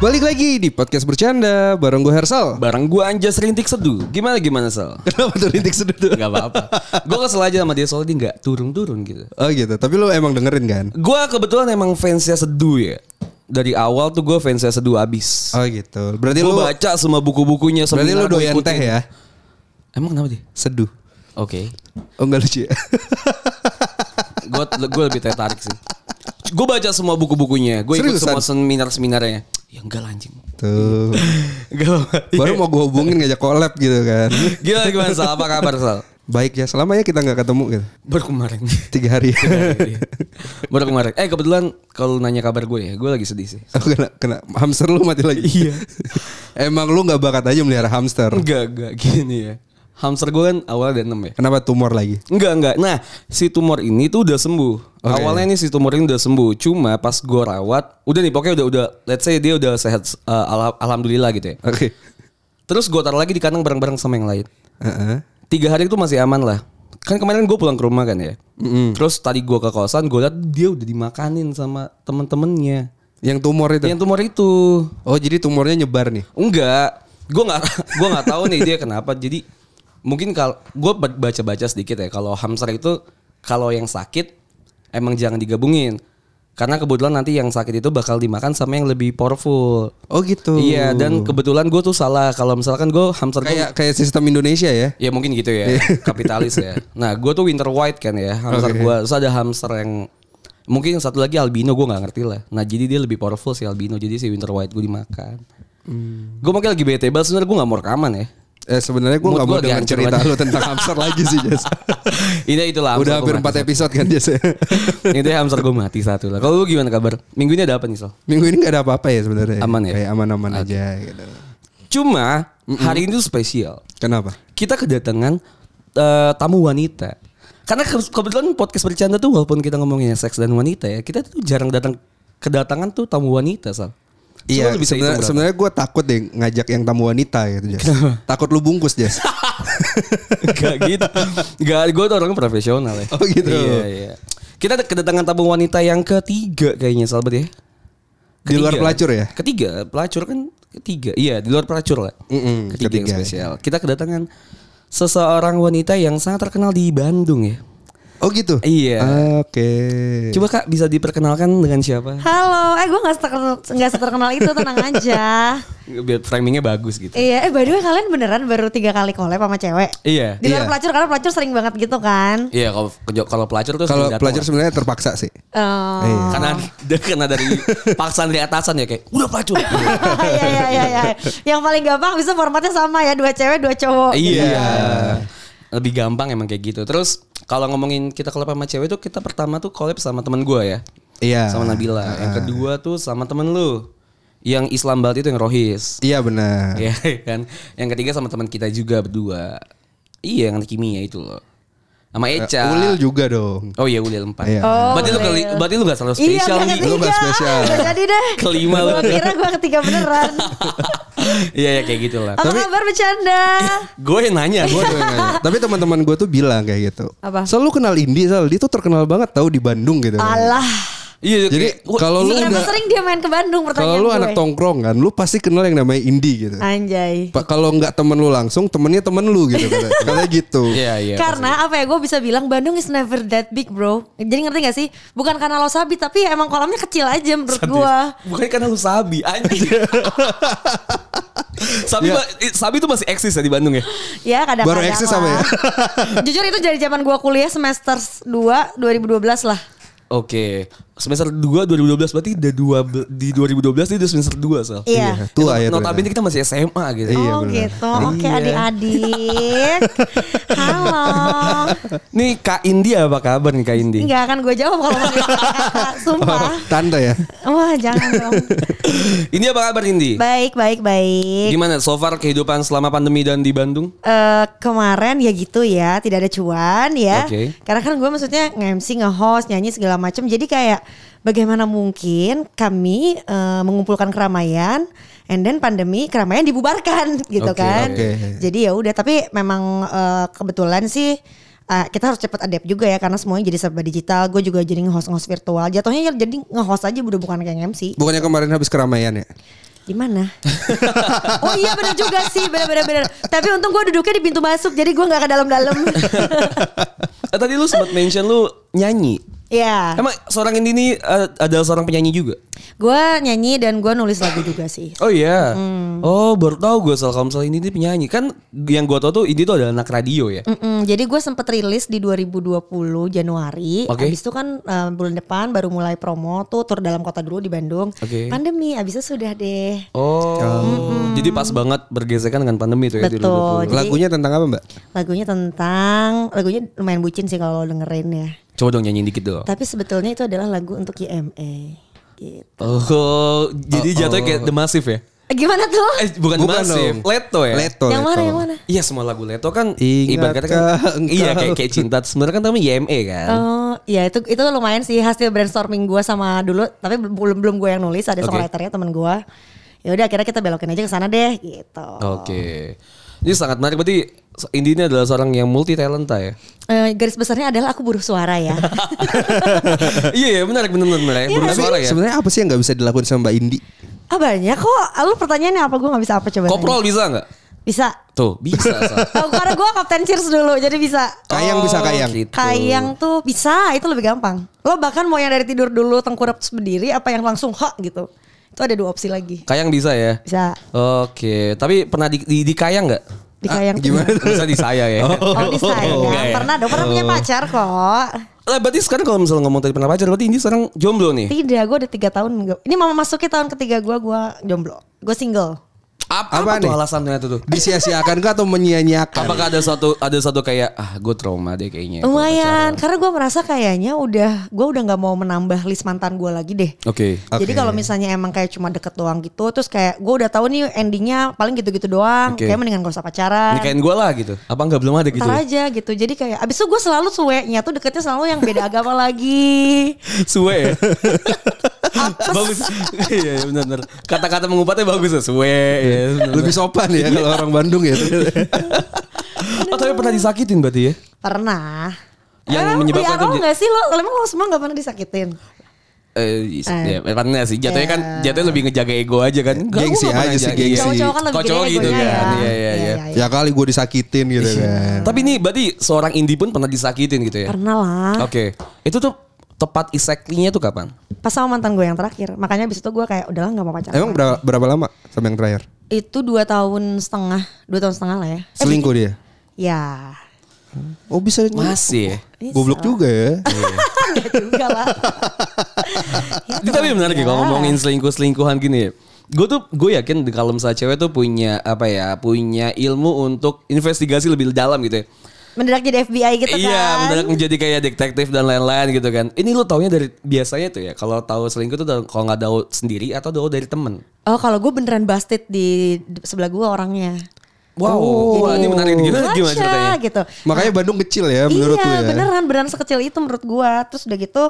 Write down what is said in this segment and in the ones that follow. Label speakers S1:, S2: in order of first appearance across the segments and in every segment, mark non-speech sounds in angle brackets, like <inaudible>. S1: Balik lagi di podcast bercanda bareng gue Hersal.
S2: Bareng gua Anjas rintik seduh. Gimana
S1: <laughs>
S2: gimana Sal?
S1: Kenapa tuh rintik sedut?
S2: Gak apa-apa. gua kesel aja sama dia soalnya dia nggak turun-turun gitu.
S1: Oh gitu. Tapi lu emang dengerin kan?
S2: Gua kebetulan emang fansnya seduh ya. Dari awal tuh gua fansnya seduh abis.
S1: Oh gitu. Berarti
S2: Gua
S1: lu
S2: baca semua buku-bukunya.
S1: berarti lu
S2: seminar gua
S1: doyan
S2: ikutin.
S1: teh ya?
S2: Emang kenapa dia?
S1: Seduh.
S2: Oke.
S1: Oh enggak lucu
S2: <laughs>
S1: ya?
S2: Gua gue lebih tertarik sih. Gue baca semua buku-bukunya. Gue ikut
S1: Seriusan?
S2: semua seminar-seminarnya. Ya enggak lah
S1: <laughs>
S2: anjing.
S1: Tuh.
S2: Enggak apa-apa.
S1: Baru mau gue hubungin ngajak collab gitu kan.
S2: Gimana gimana Sal? Apa kabar Sal?
S1: Baik ya, selama ya kita nggak ketemu gitu.
S2: Baru
S1: <laughs>
S2: kemarin.
S1: Tiga hari.
S2: Baru kemarin. Eh kebetulan kalau lu nanya kabar gue ya, gue lagi sedih sih.
S1: <laughs> Aku kena, kena hamster lu mati lagi. Iya. <laughs> Emang lu nggak bakat aja melihara hamster.
S2: Enggak, enggak gini ya. Hamster gue kan awalnya ada 6 ya.
S1: Kenapa tumor lagi?
S2: Enggak, enggak. Nah, si tumor ini tuh udah sembuh. Awalnya nih si tumor ini udah sembuh. Cuma pas gue rawat, udah nih pokoknya udah udah let's say dia udah sehat eh, ala- alhamdulillah gitu ya.
S1: Oke.
S2: Terus gue taruh lagi di kandang bareng-bareng sama yang lain.
S1: Heeh.
S2: Tiga hari itu masih aman lah. Kan kemarin gue pulang ke rumah kan ya. Terus tadi gue ke kosan, gue liat dia udah dimakanin sama temen-temennya.
S1: Yang tumor itu.
S2: Yang tumor itu.
S1: Oh jadi tumornya nyebar nih.
S2: Enggak, gue nggak <laughs> gue nggak tahu nih dia kenapa. Jadi mungkin kalau gue baca-baca sedikit ya kalau hamster itu kalau yang sakit emang jangan digabungin karena kebetulan nanti yang sakit itu bakal dimakan sama yang lebih powerful.
S1: Oh gitu.
S2: Iya dan kebetulan gue tuh salah kalau misalkan gue hamster gua-
S1: Kayak kayak sistem Indonesia ya.
S2: Ya mungkin gitu ya, <laughs> kapitalis ya. Nah, gue tuh winter white kan ya, hamster
S1: Iya. Oke.
S2: gue. Terus ada hamster yang mungkin yang satu lagi albino gue nggak ngerti lah. Nah, jadi dia lebih powerful si albino. Jadi si winter white gue dimakan.
S1: Hmm.
S2: Gue makanya lagi bete banget sebenarnya gue nggak mau rekaman
S1: <laughs>
S2: ya.
S1: Eh sebenarnya gue
S2: Mood
S1: nggak
S2: gua
S1: mau
S2: lagi
S1: dengar
S2: hancur
S1: cerita
S2: banget.
S1: lu
S2: <laughs>
S1: tentang hamster lagi sih Jas.
S2: Ini itulah hamster
S1: Udah
S2: gua
S1: hampir
S2: mati.
S1: 4 episode kan
S2: <laughs>
S1: Jas ya.
S2: Itu hamster gue mati satu lah. Kalau lu gimana kabar? Minggu ini ada apa nih, Sol?
S1: Minggu ini nggak ada apa-apa ya sebenarnya.
S2: Aman ya?
S1: Kayak aman-aman aja gitu.
S2: Cuma hari ini tuh spesial.
S1: Kenapa?
S2: Kita kedatangan eh, tamu wanita. Karena ke- kebetulan podcast bercanda tuh walaupun kita ngomongin seks dan wanita ya, kita tuh jarang datang kedatangan tuh tamu wanita, Sal. Coba
S1: Iya,
S2: lu bisa hitung
S1: sebenarnya
S2: <laughs> berapa?
S1: sebenarnya gue takut deh ngajak yang tamu wanita gitu, Jas. Takut lu bungkus,
S2: <laughs>
S1: Jas.
S2: Gak gitu. Gak, gue tuh orangnya profesional ya.
S1: Oh, gitu.
S2: Iya, iya. Kita ada kedatangan tamu wanita yang ketiga kayaknya, Salbet ya.
S1: Di luar
S2: Ketiga.
S1: pelacur ya?
S2: Ketiga, pelacur kan ketiga. Iya, di luar pelacur lah.
S1: Mm-mm,
S2: ketiga, yang
S1: ketiga.
S2: spesial. Kita kedatangan seseorang wanita yang sangat terkenal di Bandung ya.
S1: Oh gitu.
S2: Iya.
S1: Oke. Iya.
S2: Coba Kak bisa diperkenalkan dengan siapa?
S3: Halo, eh gue gak seterkenal, nggak seterkenal itu, tenang aja.
S2: Biar framingnya bagus gitu.
S3: Iya, eh by the way kalian beneran baru tiga kali collab sama cewek?
S2: Iya.
S3: Di
S1: Iya.
S3: luar pelacur, karena pelacur sering banget gitu kan?
S2: Iya, kalau kalau pelacur Ah.
S1: Kalau
S2: tuh sering datang
S1: pelajar
S2: lah.
S1: sebenarnya terpaksa sih.
S3: Oh.
S1: Iya.
S2: <laughs> karena karena dari paksaan dari atasan ya kayak udah <laughs> pelacur.
S3: <laughs> Iya, iya, iya, iya. Yang paling gampang bisa formatnya sama ya, dua cewek, dua cowok.
S2: Iya. Lebih gampang emang kayak gitu. Terus kalau ngomongin kita collab sama cewek tuh kita pertama tuh collab sama temen gue ya. Ah.
S1: Iya.
S2: Sama Nabila. Yang kedua tuh sama temen lu. Yang Islam banget itu yang Rohis.
S1: Iya benar.
S2: Ya <laughs> kan. Yang ketiga sama teman kita juga berdua. Iya yang kimia itu loh. Sama Eca.
S1: Eh, Ulil juga dong.
S2: Oh iya Ulil empat.
S1: Iya.
S3: Oh,
S2: berarti lu keli- berarti lu gak selalu
S3: Iya,
S2: spesial gitu?
S3: gua
S2: nih.
S3: ketiga.
S1: Lu nggak spesial.
S3: Nggak jadi deh.
S2: Kelima lu.
S3: Gue kira gue ketiga beneran.
S2: <laughs> Iya ya kayak gitulah.
S1: Nah,
S3: Apa kabar bercanda?
S2: Gue yang nanya.
S1: Gua tuh yang
S2: <laughs>
S1: nanya. Tapi teman-teman gue tuh bilang kayak gitu.
S3: Apa?
S1: Selalu kenal Indi, Sal. Dia tuh terkenal banget tahu di Bandung gitu.
S3: Alah.
S2: Iya.
S1: Jadi
S2: kayak, wah,
S1: kalau lu
S3: Kenapa
S1: udah
S3: sering dia main ke Bandung pertanyaan
S1: kalau lu
S3: gue? Ah,
S1: anak tongkrongan, lu pasti kenal yang namanya Indi gitu.
S3: Anjay.
S1: Pa- Kalau nggak temen lu langsung, temennya temen lu gitu.
S3: <laughs>
S1: kata- Katanya gitu.
S2: Iya iya.
S3: karena apa ya gue bisa bilang Bandung is never that big bro jadi ngerti gak sih bukan karena lo sabi tapi ya emang kolamnya kecil aja menurut gue
S2: Bukan karena lu sabi anjing.
S1: <laughs> Iya.
S2: sabi ma- eh, sabi itu masih eksis ya di Bandung ya.
S3: ya kadang-kadang
S1: Baru eksis apa ya?
S3: lah. jujur itu dari zaman gue kuliah semester 2 2012 lah
S2: Oke. semester 2 2012 berarti udah dua be- di 2012 itu udah semester 2 sel.
S3: Iya.
S1: Tua ya
S2: Notabene kita masih SMA gitu.
S1: Iya,
S3: oh
S1: benar.
S3: gitu, oke adik-adik. Halo.
S2: Nih Kak Indi apa kabar nih Kak Indi?
S3: Nggak akan gue jawab kalau
S1: <laughs>
S3: manggil kakak, sumpah.
S1: Tanda ya.
S3: Wah jangan
S1: <laughs>
S3: dong.
S2: Indi apa kabar Indi?
S3: Baik, baik, baik.
S2: Gimana so far kehidupan selama pandemi dan di Bandung?
S3: Eh kemarin ya gitu ya, tidak ada cuan ya.
S2: Oke.
S3: Karena kan gue maksudnya nge-MC, nge-host, nyanyi segala macam. Jadi kayak bagaimana mungkin kami eh, mengumpulkan keramaian and then pandemi keramaian dibubarkan <laughs> gitu
S2: Oke,
S3: kan.
S1: oke.
S3: Jadi ya udah tapi memang eh, kebetulan sih eh, kita harus cepat adapt juga ya karena semuanya jadi serba digital. Gue juga jadi nge-host-nge-host virtual. Jatuhnya ya jadi nge-host aja udah bukan kayak MC.
S1: Bukannya kemarin habis keramaian ya?
S3: Gimana? <laughs> oh iya bener juga sih bener bener bener. Tapi untung gue duduknya di pintu masuk jadi gue nggak ke
S2: <laughs>
S3: dalam-dalam.
S2: Eh, tadi lu sempat mention lu nyanyi.
S3: ya,
S2: Emang seorang Indi ini eh, adalah seorang penyanyi juga?
S3: gue nyanyi dan gue nulis lagu juga sih.
S2: Oh iya. Oh baru tahu gue soal kalau misalnya Indi ini penyanyi. Kan yang gue tau tuh Indi tuh adalah anak radio ya.
S3: Mm-mm, jadi gue sempet rilis di 2020 Januari.
S2: Oke.
S3: Abis itu kan eh, bulan depan baru mulai promo tuh tur dalam kota dulu di Bandung.
S2: Oke.
S3: Pandemi abis itu sudah deh.
S2: Oh. Jadi pas banget bergesekan dengan pandemi tuh ya di 2020.
S3: Betul. Oh, Jadi-
S1: Lagunya tentang apa mbak?
S3: Lagunya tentang lagunya lumayan bucin sih kalau lo dengerin ya.
S2: Coba dong nyanyiin dikit dong.
S3: Tapi sebetulnya itu adalah lagu untuk IME. Gitu.
S2: Oh, jadi jatuhnya kayak The Massive ya?
S3: Eh, Gimana tuh?
S2: Eh, bukan, The Massive, Leto ya?
S1: Leto.
S3: yang mana yang mana?
S2: Iya semua lagu Leto kan
S1: Ingatkah
S2: ibaratnya kan
S1: engkau?
S2: iya kayak kayak cinta sebenarnya kan namanya YME kan.
S3: Oh, ya itu itu lumayan sih hasil brainstorming gue sama dulu, tapi belum belum gue yang nulis, ada
S2: Oke.
S3: songwriternya teman gue. Ya udah akhirnya kita belokin aja ke sana deh gitu.
S2: Oh. Oke. Jadi sangat menarik berarti Indi ini adalah seorang yang multi talenta ya.
S3: Eh, garis besarnya adalah aku buruh suara
S2: <laughs>
S3: ya.
S2: Iya, iya menarik benar benar benar. Burung
S1: Tapi
S2: suara ya.
S1: sebenarnya apa sih yang nggak bisa dilakukan sama Mbak Indi?
S3: ah banyak kok. Ah, Lu pertanyaannya apa gue nggak bisa apa coba? tanya.
S2: Koprol bisa nggak?
S3: Bisa.
S2: Tuh, bisa. Sa.
S3: Oh, karena gue kapten cheers dulu, jadi bisa.
S1: Kayang bisa kayang.
S2: gitu.
S3: Kayang tuh bisa, itu lebih gampang. Lo bahkan mau yang dari tidur dulu tengkurap terus berdiri, apa yang langsung hok gitu. Itu ada dua opsi lagi.
S2: Kayang bisa ya.
S3: Bisa
S2: Oke, tapi pernah di, di, di kayang nggak?
S3: dikayang.
S1: Ah, gimana?
S2: Bisa di saya ya.
S3: Oh, di saya.
S2: Enggak ya?
S3: Pernah dong, pernah punya pacar kok.
S2: Lah berarti sekarang kalau misalnya ngomong tadi pernah pacar, berarti Indi sekarang jomblo nih.
S3: Tidak, gue udah tiga tahun. nggak- Ini mama masuki tahun ketiga gue, gue jomblo. Gue single.
S2: Apa,
S1: Apa
S2: apa tuh
S1: nih?
S2: alasannya itu tuh?
S1: Disia-siakan kah atau menyia-nyiakan?
S2: Apakah ada satu ada satu kayak ah gue trauma deh kayaknya. kalau
S3: Lumayan, karena gue merasa kayaknya udah, gue udah nggak mau menambah list mantan gue lagi deh.
S2: pacaran. Oke.
S3: Jadi kalau misalnya emang kayak cuma deket doang gitu, terus kayak gue udah tahu nih endingnya paling gitu-gitu doang,
S2: Oke.
S3: kayak mendingan gak usah pacaran.
S2: Nikahin gue lah gitu. Apa enggak belum ada gitu? ya?
S3: Ntar aja gitu. Jadi kayak abis itu gue selalu sueknya tuh deketnya selalu yang beda agama <laughs> lagi.
S2: Suwe ya. bagus. Iya iya, benar benar. Kata-kata mengupatnya bagus ya. Suwe ya. benar.
S1: Lebih sopan
S2: Iya.
S1: ya kalau orang Bandung ya.
S3: Iya,
S2: Oh tapi pernah disakitin berarti ya?
S3: Pernah.
S2: Yang
S3: Emang
S2: menyebabkan
S3: di awal
S2: jadi-
S3: nggak sih lo, emang lo semua gak pernah disakitin?
S2: Eh, ya, pernah sih. Jatuhnya kan jatuhnya lebih ngejaga ego aja kan. Enggak,
S1: Gengsi
S2: gua nggak pernah
S1: aja sih,
S2: jaga-
S1: gengsi.
S2: iya.
S3: Cowok-cowok kan lebih
S2: Kocok
S3: gede
S2: gitu
S3: egonya
S2: kan.
S3: ya.
S2: Iya iya iya.
S1: ya kali gue disakitin gitu
S3: Iya.
S1: kan.
S2: Tapi ini berarti seorang indie pun pernah disakitin gitu ya?
S3: Pernah lah.
S2: Oke. Itu tuh tepat exactly-nya tuh kapan?
S3: Pas sama mantan gue yang terakhir. Makanya abis itu gue kayak udahlah nggak mau pacaran.
S1: kan. Emang berapa, berapa lama sama yang terakhir?
S3: Itu dua tahun setengah, dua tahun setengah lah ya. Eh,
S1: Selingkuh dia.
S3: ya.
S1: Oh bisa
S2: Masih. ya?
S3: Bisa
S1: Goblok
S3: lah.
S1: juga
S3: <laughs>
S1: ya.
S3: Iya. Enggak juga lah.
S2: <laughs> Itu tapi menarik ya
S3: Iya.
S2: kalau ngomongin selingkuh-selingkuhan gini. Gue tuh gue yakin di- kalau misalnya cewek tuh punya apa ya, punya ilmu untuk investigasi lebih dalam gitu ya.
S3: Mendadak jadi FBI gitu kan.
S2: Iya, mendadak menjadi kayak detektif dan lain-lain gitu kan. Ini lu taunya dari biasanya tuh ya. Kalau tahu selingkuh tuh da- kalau nggak tahu sendiri atau tahu dari temen.
S3: Oh kalau gue beneran busted di di sebelah gue orangnya.
S2: Wow, wah, ini menarik gimana, gimana
S3: Oh. Masya,
S2: ceritanya?
S3: gitu.
S1: Makanya Bandung kecil ya menurut lu
S3: iya
S1: ya.
S3: beneran beneran sekecil itu menurut gua terus udah gitu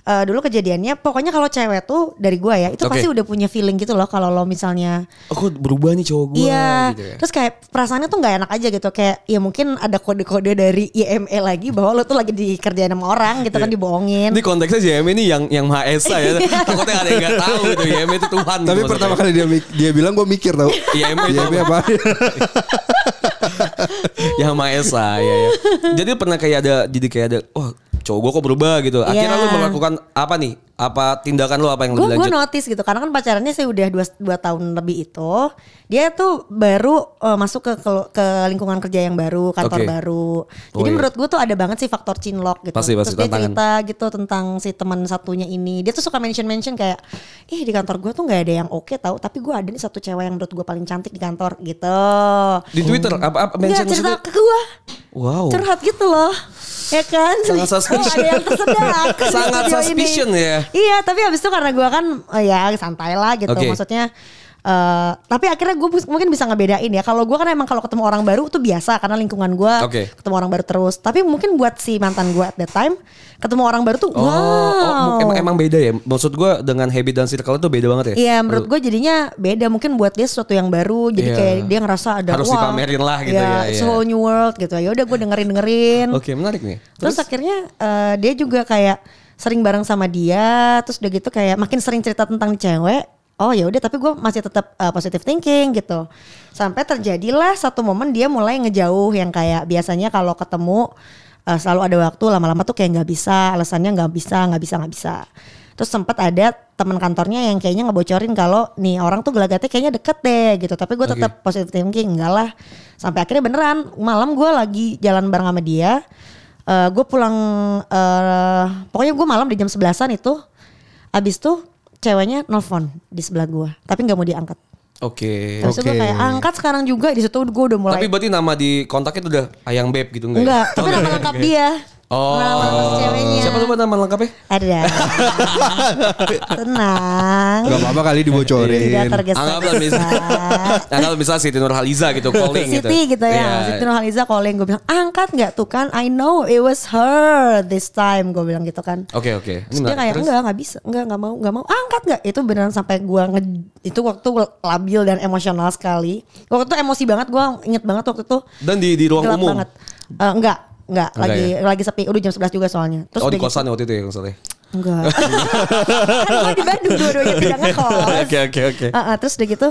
S3: eh, dulu kejadiannya pokoknya kalau cewek tuh dari gua ya itu
S2: Oke.
S3: pasti udah punya feeling gitu loh kalau lo misalnya
S2: Aku Oh, berubah nih cowok gue
S3: iya
S2: gitu ya.
S3: terus kayak perasaannya tuh nggak enak aja gitu kayak ya mungkin ada kode-kode dari IME lagi bahwa lo tuh lagi dikerjain sama orang gitu kan dibohongin
S2: Ini konteksnya JM ini yang yang Maha Esa
S3: <laughs>
S2: ya.
S3: Iya.
S2: Takutnya ada yang nggak tahu gitu. JM itu Tuhan. gitu
S1: Tapi
S2: maksudnya.
S1: pertama kali dia mik- dia bilang gue mikir tau.
S2: Iya, emang
S1: Iya
S2: itu
S1: apa?
S3: <laughs>
S2: <laughs> yang Maha Esa ya, ya. Jadi pernah kayak ada jadi kayak ada wah cowok gue kok berubah gitu. Akhirnya
S3: Iya.
S2: lu melakukan apa nih? Apa tindakan lu apa yang
S3: gue
S2: lebih
S3: gue
S2: lanjut?
S3: notice gitu karena kan pacarannya saya udah dua, dua tahun lebih itu dia tuh baru eh, masuk ke, ke ke lingkungan kerja yang baru kantor
S2: Oke.
S3: baru jadi
S2: iya.
S3: menurut gue tuh ada banget sih faktor cinlok gitu
S2: Pasti, pasti,
S3: terus dia
S2: tantangan.
S3: cerita gitu tentang si teman satunya ini dia tuh suka mention mention kayak ih di kantor gue tuh nggak ada yang oke tahu tapi gue ada nih satu cewek yang menurut gue paling cantik di kantor gitu
S2: Di Twitter apa apa mention
S3: Enggak cerita
S2: maksudnya?
S3: ke gue
S2: Wow.
S3: curhat gitu loh ya kan
S2: Oh. Sangat suspicious.
S3: Oh, ada yang tersedak di
S2: Sangat
S3: studio ini.
S2: suspicious ya.
S3: iya tapi habis itu karena gua kan eh, ya santai lah gitu
S2: Oke.
S3: maksudnya eh, tapi akhirnya gue mungkin bisa ngebedain ya kalau gua kan emang kalau ketemu orang baru tuh biasa karena lingkungan gua
S2: Oke.
S3: ketemu orang baru terus tapi mungkin buat si mantan gua at that time ketemu orang baru tuh
S2: Oh, oh,
S3: wow
S2: emang, emang beda ya. Maksud gue dengan habit dan circle itu beda banget ya.
S3: Iya menurut gue jadinya beda mungkin buat dia sesuatu yang baru jadi
S2: Iya.
S3: kayak dia ngerasa ada
S2: Harus
S3: wah,
S2: dipamerin lah gitu ya,
S3: it's
S2: iya.
S3: a whole new world gitu ya udah gue dengerin dengerin
S2: Oke, menarik nih.
S3: Terus, akhirnya eh, dia juga kayak sering bareng sama dia, terus udah gitu kayak makin sering cerita tentang cewek. Oh ya udah, tapi gue masih tetap eh, positive thinking gitu. Sampai terjadilah satu momen dia mulai ngejauh yang kayak biasanya kalau ketemu eh, selalu ada waktu lama-lama tuh kayak nggak bisa, alasannya nggak bisa, nggak bisa, nggak bisa. Terus sempat ada teman kantornya yang kayaknya ngebocorin kalau nih orang tuh gelagatnya kayaknya deket deh gitu. Tapi gue tetap positive thinking, enggak lah. Sampai akhirnya beneran malam gue lagi jalan bareng sama dia. Eh gue pulang, eh pokoknya gue malam di jam 11an itu. Abis tuh ceweknya nelfon di sebelah gue, tapi nggak mau diangkat.
S2: Oke.
S3: Terus
S1: Oke.
S3: gue kayak angkat sekarang juga di situ gue udah mulai.
S2: Tapi berarti nama di kontak itu udah Ayang Beb gitu enggak? ya?
S3: enggak, tapi nama lengkap dia.
S2: Oh.
S3: Nama lengkap ceweknya.
S2: Siapa lupa nama lengkapnya?
S3: Ada.
S2: <laughs>
S3: Tenang.
S1: Gak apa-apa kali
S3: Tidak
S1: dibocorin.
S3: tergesa
S2: Anggaplah
S3: <laughs>
S2: bisa. Anggaplah bisa Siti Nurhaliza gitu calling gitu.
S3: Siti gitu ya. Siti Nurhaliza calling gue bilang angkat nggak tuh kan? I know it was her this time gue bilang gitu kan.
S2: Oke, oke. Ini
S3: Terus dia
S2: menarik.
S3: kayak
S2: Terus?
S3: enggak enggak bisa enggak enggak mau enggak mau Ah, angkat enggak itu beneran sampai gua nge, itu waktu labil dan emosional sekali waktu itu emosi banget gua inget banget waktu itu
S2: Dan di di ruang
S3: gelap
S2: umum.
S3: banget Eh, enggak enggak
S2: Enggak
S3: lagi lagi sepi udah jam 11 juga soalnya terus
S2: oh, di
S3: udah <laughs> gitu-
S2: kosan ya waktu itu ya kalau salah. ya?
S3: enggak kan gua di Bandung dua-duanya
S2: <laughs>
S3: tidak ngekos
S2: Oke, oke, oke.
S3: Ah, ah, terus udah gitu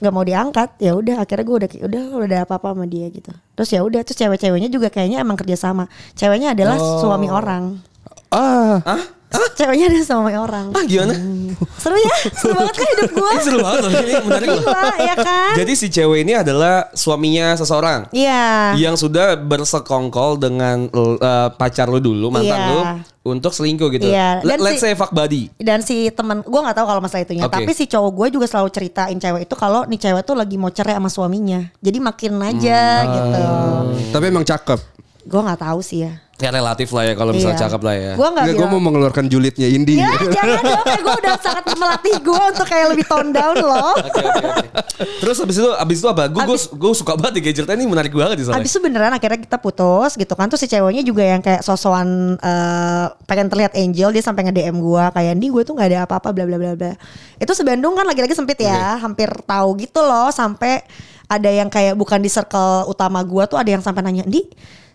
S3: nggak mau diangkat ya udah akhirnya gue udah udah udah apa apa sama dia gitu terus ya udah terus cewek-ceweknya juga kayaknya emang kerjasama ceweknya adalah
S2: Oh.
S3: suami orang
S1: Ah,
S2: Hah?
S3: ceweknya adalah suami orang
S2: Ah, gimana?
S3: seru ya seru banget kan hidup gue
S2: Ini seru banget loh. Ini menarik loh.
S3: gila ya kan
S2: Jadi si cewek ini adalah suaminya seseorang
S3: iya
S2: yang sudah bersekongkol dengan eh, pacar lu dulu, mantan
S3: Iya.
S2: lu untuk selingkuh gitu.
S3: Iya,
S2: Let-
S3: dan
S2: Let's
S3: si-
S2: say fuck buddy.
S3: dan si teman gue nggak tahu kalau masalah itunya
S2: Oke.
S3: tapi si cowok gue juga selalu ceritain cewek itu kalau nih cewek tuh lagi mau cerai sama suaminya jadi makin
S2: Hmm, ah.
S3: aja gitu
S1: tapi emang cakep.
S3: gue nggak tahu sih ya
S2: Ya relatif lah ya kalau misalnya
S3: Iya.
S2: cakep lah ya.
S3: gue nggak
S1: Enggak, gue
S3: bilang
S1: mau mengeluarkan julidnya Indi. <laughs>
S3: Ya jangan dong kayak gue udah sangat melatih gue untuk kayak lebih tone down loh
S2: Oke, oke, oke. Terus abis itu abis itu apa? Gue
S3: Abis-
S2: gue suka banget di gadgetnya ini menarik banget di sana.
S3: Abis itu beneran akhirnya kita putus gitu kan Terus si ceweknya juga yang kayak sosokan eh, pengen terlihat angel Dia sampai nge-DM gue kayak Di gue tuh gak ada apa-apa bla bla bla bla Itu sebandung kan lagi-lagi sempit ya Hampir tahu gitu loh Sampai ada yang kayak bukan di circle utama gue tuh Ada yang sampai nanya Di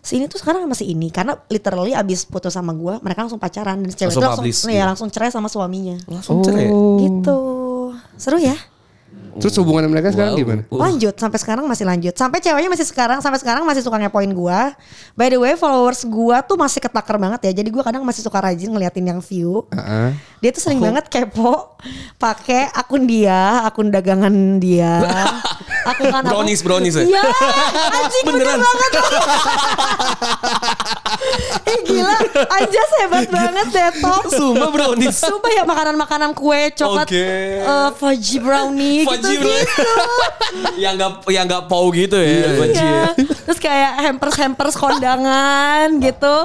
S3: si ini tuh sekarang masih ini Karena literally abis putus sama gue Mereka langsung pacaran Dan si cewek
S2: Langsung
S3: itu langsung,
S2: publish,
S3: ya,
S2: gitu.
S3: langsung cerai sama suaminya
S1: Oh.
S2: Langsung cerai. ya?
S3: Gitu Seru ya
S1: Terus hubungan mereka sekarang
S2: Wow.
S1: gimana?
S2: Uh.
S3: Lanjut sampai sekarang masih lanjut. Sampai ceweknya masih sekarang sampai sekarang masih suka ngepoin gua. By the way, followers gua tuh masih ketaker banget ya. Jadi gua kadang masih suka rajin ngeliatin yang view.
S2: Uh.
S1: Heeh.
S3: Dia tuh sering banget kepo pakai akun dia, akun dagangan dia.
S2: <laughs>
S3: akun kan apa?
S2: Brownies, brownies ya?
S3: Iya, anjing bener
S2: Beneran. <laughs>
S3: banget. eh gila, aja hebat banget deh Tom.
S2: Suma Iya. brownies.
S3: Sumpah ya makanan-makanan kue coklat
S2: Oke.
S3: eh, fudgy brownie
S2: Fudgy
S3: gitu
S2: <laughs> yang nggak yang nggak pau gitu ya. Fudgy ya.
S3: Iya. Terus kayak hampers hampers
S2: <laughs>
S3: kondangan gitu.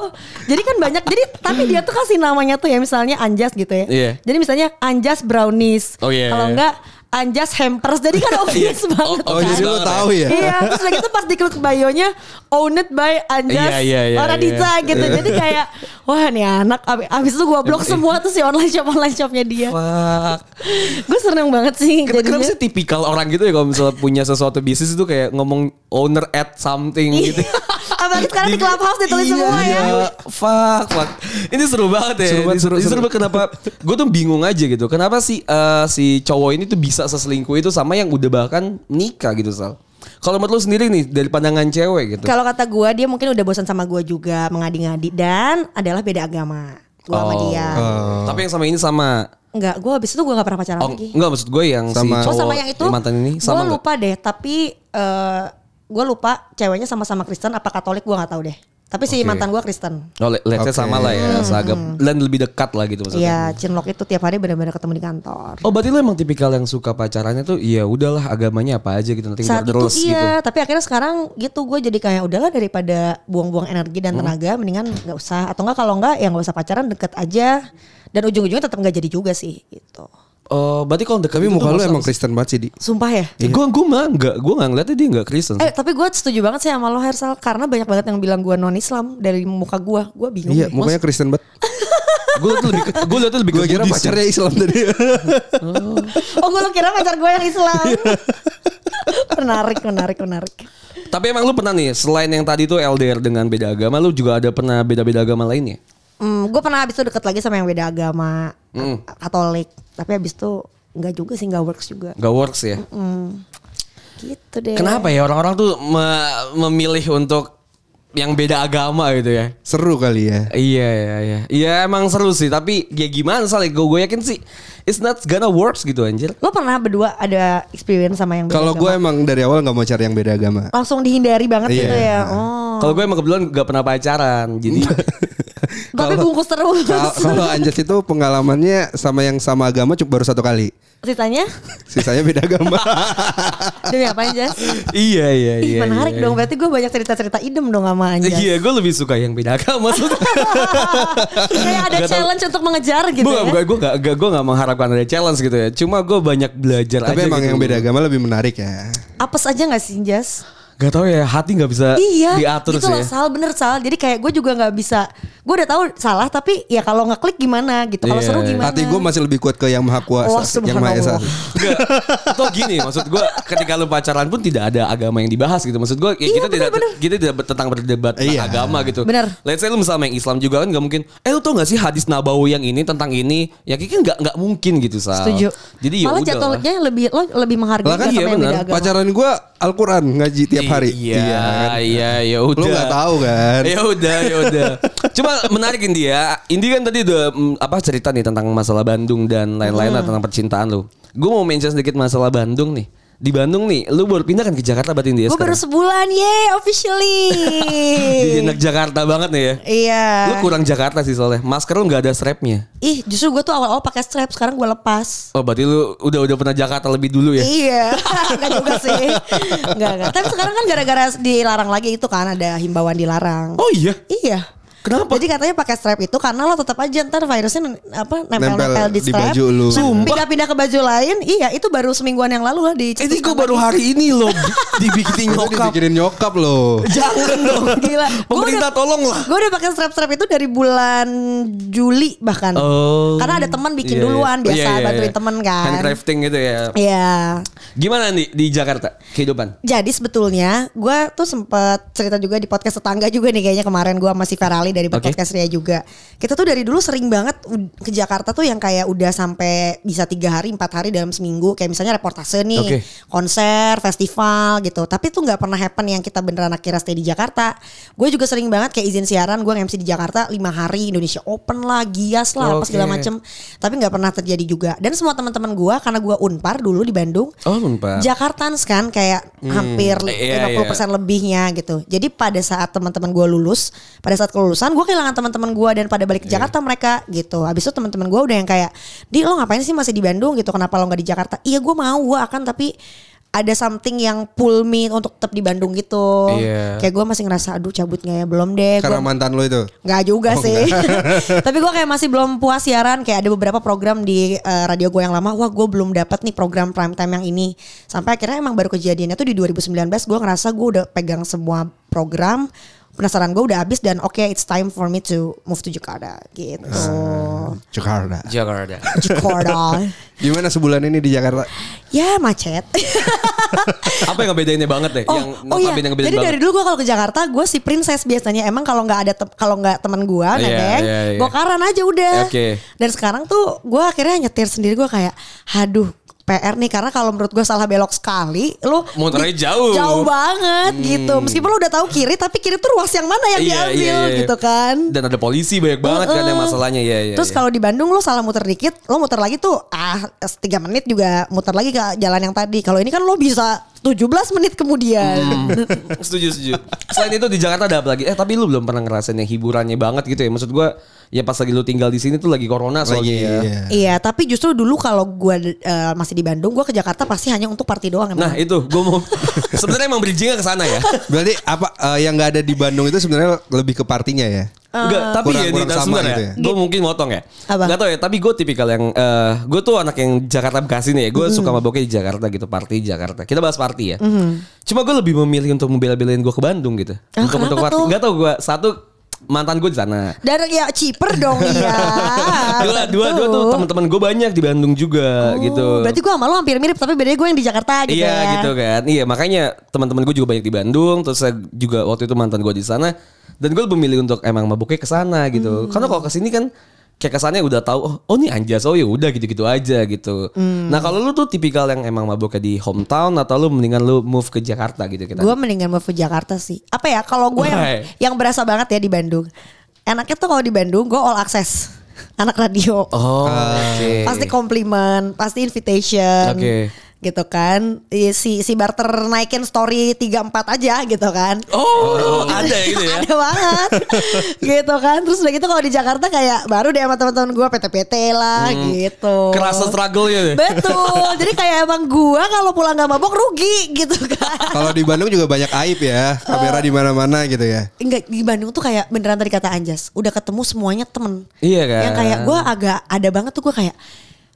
S3: Jadi kan banyak. Jadi tapi dia tuh kasih namanya tuh ya misalnya Anjas gitu ya.
S2: Iya.
S3: Jadi misalnya Anjas brownies.
S2: Oh, iya,
S3: Kalau
S2: iya.
S3: enggak Anjas hampers. Jadi
S2: <laughs>
S3: kan obvious banget.
S1: Oh,
S3: kan?
S1: jadi lo
S2: Banget ya?
S1: tahu ya?
S3: Iya, terus lagi itu pas diklik bio-nya owned by Anjas
S2: Iya, iya, iya,
S3: Oradita gitu. Jadi kayak wah nih anak ab- abis itu gua blok
S2: Iya.
S3: semua tuh si online shop online shopnya dia.
S2: Fuck.
S3: Gue seneng banget sih.
S2: Ken- Kenapa
S3: jadinya.
S2: sih tipikal orang gitu ya kalau misalnya punya sesuatu bisnis itu kayak ngomong owner at something gitu.
S3: <laughs> Apalagi Iya. sekarang di clubhouse ditulis
S2: Iya,
S3: semua ya.
S2: iya. Fuck, fuck. Ini seru banget ya.
S1: Seru banget,
S2: Ini
S1: seru,
S2: ini
S1: seru.
S2: banget kenapa? Gue tuh bingung aja gitu. Kenapa si eh, si cowok ini tuh bisa seselingkuh itu sama yang udah bahkan nikah gitu sal? Kalau menurut lu sendiri nih dari pandangan cewek gitu.
S3: Kalau kata gua dia mungkin udah bosan sama gua juga mengadi-ngadi dan adalah beda agama. Gua sama
S2: Oh.
S3: dia.
S2: Tapi yang sama ini sama.
S3: Enggak, gua habis itu gua gak pernah pacaran
S2: Oh,
S3: lagi.
S2: enggak maksud gue yang
S1: Sama-
S2: si
S3: Oh
S2: cowok
S3: sama yang itu?
S2: yang mantan ini sama
S3: Gua
S2: enggak?
S3: lupa deh, tapi eh gua lupa ceweknya sama-sama Kristen apa Katolik gua nggak tahu deh. Tapi si
S2: Oke.
S3: mantan gua Kristen.
S2: Oh, le- let's say
S1: Oke.
S2: sama lah ya, seagam dan lebih dekat lah gitu maksudnya.
S3: Hmm. Iya, cinlok itu tiap hari benar-benar ketemu di kantor.
S2: Oh, berarti lu emang tipikal yang suka pacarannya tuh ya udahlah agamanya apa aja gitu nanti
S3: Saat itu
S2: terus gitu.
S3: iya, tapi akhirnya sekarang gitu gue jadi kayak udahlah daripada buang-buang energi
S2: Hmm.
S3: dan tenaga, mendingan nggak usah atau enggak kalau enggak ya nggak usah pacaran deket aja dan ujung-ujungnya tetap nggak jadi juga sih gitu.
S2: Oh, berarti kalau dekat
S1: Tapi
S2: itu
S1: muka
S2: tuh
S1: lu
S2: nggak
S1: emang
S2: usah-
S1: Kristen banget sih di.
S3: Sumpah ya.
S2: Gue gue mah enggak, gue enggak ngeliatnya dia enggak Kristen.
S1: Iya.
S3: Eh tapi gue setuju banget sih sama lo Hersal karena banyak banget yang bilang gue non Islam dari muka gue, gue bingung.
S1: Iya,
S3: deh.
S1: mukanya Kristen banget.
S2: gue tuh lebih gue liatnya lebih
S1: Gue kira
S2: Buddhis.
S1: pacarnya Islam tadi.
S3: <laughs>
S2: <laughs>
S3: Oh gue lo kira pacar gue yang Islam
S1: Iya.
S3: <laughs> Menarik menarik menarik
S2: Tapi emang lu pernah nih selain yang tadi tuh LDR dengan beda agama, lu juga ada pernah beda-beda agama lainnya?
S3: hmm, Gue pernah abis itu deket lagi sama yang beda agama
S2: Hmm.
S3: Ka- Katolik Tapi abis itu nggak juga sih nggak works juga
S2: Gak works ya?
S3: Hmm. Gitu deh
S2: Kenapa ya orang-orang tuh me- memilih untuk yang beda agama gitu ya?
S1: Seru kali ya.
S2: Iya iya iya. Iya emang seru sih, tapi ya gimana soalnya gue gue yakin sih it's not gonna works gitu anjir.
S3: Lo pernah berdua ada experience sama yang beda
S1: Kalau gue
S3: agama?
S1: emang dari awal nggak mau cari yang beda agama. <laughs>
S3: Langsung dihindari banget
S1: Iya.
S3: gitu ya oh.
S2: Kalau gue emang kebetulan gak pernah pacaran, jadi
S3: Tapi bungkus terus
S1: Kal- Kalau Anjas itu pengalamannya sama yang sama agama cuma baru satu kali.
S3: <laughs> Sisanya
S1: Sisanya beda agama.
S3: Demi apa aja
S2: <laughs>
S1: <laughs>
S2: iya iya
S3: Ih
S2: iya.
S3: menarik
S2: iya,
S3: dong Berarti gue banyak cerita-cerita idem dong sama
S2: Iya,
S3: Anja
S2: Iya, gue lebih suka yang beda agama.
S3: <laughs> Kayak ada
S2: Nggak tahu.
S3: challenge untuk mengejar gitu
S2: bukan,
S3: ya
S2: bukan, gue gak, gue gak mengharapkan ada challenge gitu ya. Cuma gue banyak belajar
S1: Tapi
S2: aja
S1: emang
S2: gitu.
S1: yang beda agama lebih menarik ya.
S3: Apes aja gak sih Jas?
S2: Gak tau ya, hati gak bisa
S3: Iya,
S2: diatur sih
S3: gitu loh,
S2: ya.
S3: Sal, bener Sal. Jadi kayak gue juga nggak bisa, gue udah tahu salah tapi ya kalau ngeklik gimana gitu, kalau
S2: Iya.
S3: seru gimana.
S1: Hati gue masih lebih kuat ke yang maha kuasa,
S3: Oh,
S1: yang maha esa.
S3: subhanallah.
S2: Nggak, Atau gini, maksud gue ketika lu pacaran pun tidak ada agama yang dibahas gitu. Maksud gue ya
S3: Iya,
S2: kita tidak
S3: bener-bener.
S2: kita tidak ber- tentang berdebat tentang
S1: Iya.
S2: agama gitu.
S3: Bener.
S2: Let's say lu misalnya yang Islam juga kan gak mungkin. Eh lu tau gak sih hadis Nabawi yang ini tentang ini? Ya kayaknya gak, nggak mungkin gitu Sal.
S3: Setuju.
S2: Jadi ya
S3: Malah
S2: udah lah.
S3: jatuhnya lebih lo lebih menghargai
S2: Lah kan
S3: nggak
S2: iya,
S3: sama yang beda
S2: bener.
S3: agama.
S1: Pacaran gue Al-Quran ngaji tiap hari.
S2: Iya, iya,
S1: kan?
S2: ya udah.
S1: Lu nggak tahu kan?
S2: Ya udah, ya udah. Cuma menarik Indi ya. Indi kan tadi udah mm, apa cerita nih tentang masalah Bandung dan lain-lain lah, tentang percintaan lu. Gue mau mention sedikit masalah Bandung nih. Di Bandung nih, lu baru pindah kan ke Jakarta berarti Indi ya
S3: Gue baru
S2: sekarang.
S3: sebulan, yeay officially.
S2: <laughs> Jadi anak Jakarta banget nih ya.
S3: iya.
S2: Lu kurang Jakarta sih soalnya. Masker lu nggak ada strapnya.
S3: Ih, justru gue tuh awal-awal pakai strap, sekarang gue lepas.
S2: Oh berarti lu udah udah pernah Jakarta lebih dulu ya.
S3: Iya, <laughs> enggak juga sih. Enggak, enggak. Tapi sekarang kan gara-gara dilarang lagi itu kan ada himbauan dilarang.
S2: Oh iya.
S3: Iya.
S2: Kenapa?
S3: Jadi katanya pakai strap itu karena lo tetap aja ntar virusnya nen- apa nempel-nempel
S1: Nempel
S3: di
S1: di
S3: strap.
S1: baju lu.
S3: Nah,
S1: Sumpah.
S3: Pindah-pindah ke baju lain. Iya, itu baru semingguan yang lalu lah di.
S2: Ini gue baru hari ini loh di- dibikinin
S1: Itu
S2: nyokap.
S1: dibikinin nyokap loh.
S2: Jangan dong.
S3: <laughs> Gila.
S2: Pemerintah tolong lah.
S3: Gue udah pakai strap-strap itu dari bulan Juli bahkan.
S2: <laughs> Oh.
S3: Karena ada teman bikin
S2: Iya, iya.
S3: duluan biasa
S2: Iya, iya,
S3: bantuin
S2: iya.
S3: temen kan.
S2: Handcrafting gitu ya.
S3: Iya.
S2: Gimana nih di Jakarta kehidupan?
S3: Jadi sebetulnya gue tuh sempet cerita juga di podcast tetangga juga nih kayaknya kemarin gue masih Ferali dari
S2: Oke.
S3: podcast Ria juga. Kita tuh dari dulu sering banget ud- ke Jakarta tuh yang kayak udah sampai bisa tiga hari empat hari dalam seminggu kayak misalnya reportase nih,
S2: Oke.
S3: konser, festival gitu. Tapi tuh nggak pernah happen yang kita beneran akhirnya stay di Jakarta. Gue juga sering banget kayak izin siaran gue MC di Jakarta lima hari Indonesia Open lah, Gias lah, apa
S2: Oke.
S3: segala macem. Tapi nggak pernah terjadi juga. Dan semua teman-teman gue karena gue unpar dulu di Bandung.
S2: Oh, Unpar.
S3: Jakartans kan kayak hampir
S2: Hmm. Iya,
S3: 50% lebihnya gitu. Jadi pada saat teman-teman gue lulus, pada saat kelulusan gue kehilangan teman-teman gue dan pada balik ke
S2: Iya.
S3: Jakarta mereka gitu. Habis itu teman-teman gue udah yang kayak, di lo ngapain sih masih di Bandung gitu? Kenapa lo nggak di Jakarta? Iya gue mau, gue akan tapi ada something yang pull me untuk tetap di Bandung gitu.
S2: Iya.
S3: Kayak gue masih ngerasa aduh cabut nggak ya belum deh.
S1: Karena
S3: Gua-
S1: mantan lo itu.
S3: Nggak juga sih. <laughs> Tapi gue kayak masih belum puas siaran. Kayak ada beberapa program di eh, radio gue yang lama. Wah gue belum dapat nih program prime time yang ini. Sampai akhirnya emang baru kejadiannya tuh di 2019. Gue ngerasa gue udah pegang semua program. Penasaran gue udah habis dan oke it's time for me to move to Jakarta gitu.
S1: Ah. Jakarta.
S2: Jakarta.
S3: Jakarta.
S1: Gimana sebulan ini di Jakarta?
S3: ya macet.
S2: <laughs> Apa yang ngebedainnya banget deh?
S3: Oh,
S2: yang
S3: oh iya.
S2: notabene ngebedain
S3: Jadi dari dulu gue kalau ke Jakarta gue si princess biasanya emang kalau nggak ada tem- kalau nggak teman gue
S2: Iya,
S3: nebeng,
S2: iya, iya.
S3: gue karan aja udah.
S2: Oke.
S3: Dan sekarang tuh gue akhirnya nyetir sendiri gue kayak, aduh PR nih karena kalau menurut gue salah belok sekali lu
S2: Muternya
S3: di-
S2: jauh. Hmm.
S3: jauh banget gitu meskipun lu udah tahu kiri tapi kiri tuh ruas yang mana yang
S2: Iya,
S3: diambil gitu kan
S2: Dan ada polisi banyak banget kan yang
S3: Heeh.
S2: masalahnya ya. ya
S3: Terus
S2: ya.
S3: kalau di Bandung lu salah muter dikit, lu muter lagi tuh ah 3 menit juga muter lagi ke jalan yang tadi. Kalau ini kan lu bisa 17 menit
S2: Hmm.
S3: kemudian.
S2: <laughs> setuju setuju. Selain itu di Jakarta ada apa lagi? Eh tapi lu belum pernah ngerasain yang hiburannya banget gitu ya. Maksud gua ya pas lagi lu tinggal di sini tuh lagi corona
S1: Lagi,
S2: soalnya ya.
S1: iya.
S3: Iya, tapi justru dulu kalau gua eh, masih di Bandung, gua ke Jakarta pasti hanya untuk party doang emang.
S2: Nah itu gue mau <laughs> sebenarnya emang bridgingnya ke sana ya.
S1: Berarti apa eh, yang nggak ada di Bandung itu sebenarnya lebih ke partinya ya?
S2: Enggak, tapi
S1: kurang-
S2: ya
S1: kurang sama
S2: sebenarnya
S1: gitu ya?
S2: gue mungkin motong ya.
S3: Eh, Apa?
S2: Gak tau ya, tapi gue tipikal yang eh gue tuh anak yang Jakarta Bekasi nih ya. Gue suka maboknya di Jakarta gitu, party di Jakarta. Kita bahas party ya. Cuma gue lebih memilih untuk membela-belain gue ke Bandung gitu.
S3: Ah,
S2: untuk
S3: kenapa
S2: untuk party.
S3: tuh?
S2: Gak tau gue satu mantan gue di sana.
S3: Dan ya cheaper dong ya.
S2: <laughs> dua, dua, dua tuh teman-teman gue banyak di Bandung juga gitu.
S3: Berarti gua sama lu hampir mirip tapi bedanya gua yang di Jakarta gitu
S2: iya
S3: ya.
S2: gitu kan. Iya makanya teman-teman gue juga banyak di Bandung. Terus saya juga waktu itu mantan gue di sana. Dan gue lebih memilih untuk emang mabuknya ke sana
S3: Hmm.
S2: gitu. Karena kalau ke sini kan kayak kesannya udah tahu oh, oh ini anjas oh ya udah gitu-gitu aja gitu.
S3: Hmm.
S2: Nah kalau lu tuh tipikal yang emang mabuknya di hometown atau lu mendingan lu move ke Jakarta gitu kita.
S3: Gue mendingan move ke Jakarta sih. Apa ya kalau gue yang
S2: Why?
S3: yang berasa banget ya di Bandung. Enaknya tuh kalau di Bandung gue all access. <laughs> Anak radio.
S2: Oh, oke.
S3: Ah. Pasti komplimen, pasti invitation.
S2: Oke.
S3: Gitu kan. Iya, Si si barter naikin story 3 4 aja gitu kan.
S2: Oh, ada ya gitu ya.
S3: Ada
S2: <laughs>
S3: banget Gitu kan Terus udah gitu kalau di Jakarta kayak Baru deh sama teman-teman gue PT-PT lah gitu
S2: Hmm. Kerasa struggle-nya deh.
S3: Betul Jadi kayak emang gue kalau pulang gak mabok rugi gitu kan
S2: <laughs>
S1: Kalau di Bandung juga banyak aib ya, kamera di mana-mana gitu ya.
S3: Enggak di Bandung tuh kayak beneran tadi kata Anjas udah ketemu semuanya temen
S2: Iya kan?
S3: yang kayak gue agak ada banget tuh gue kayak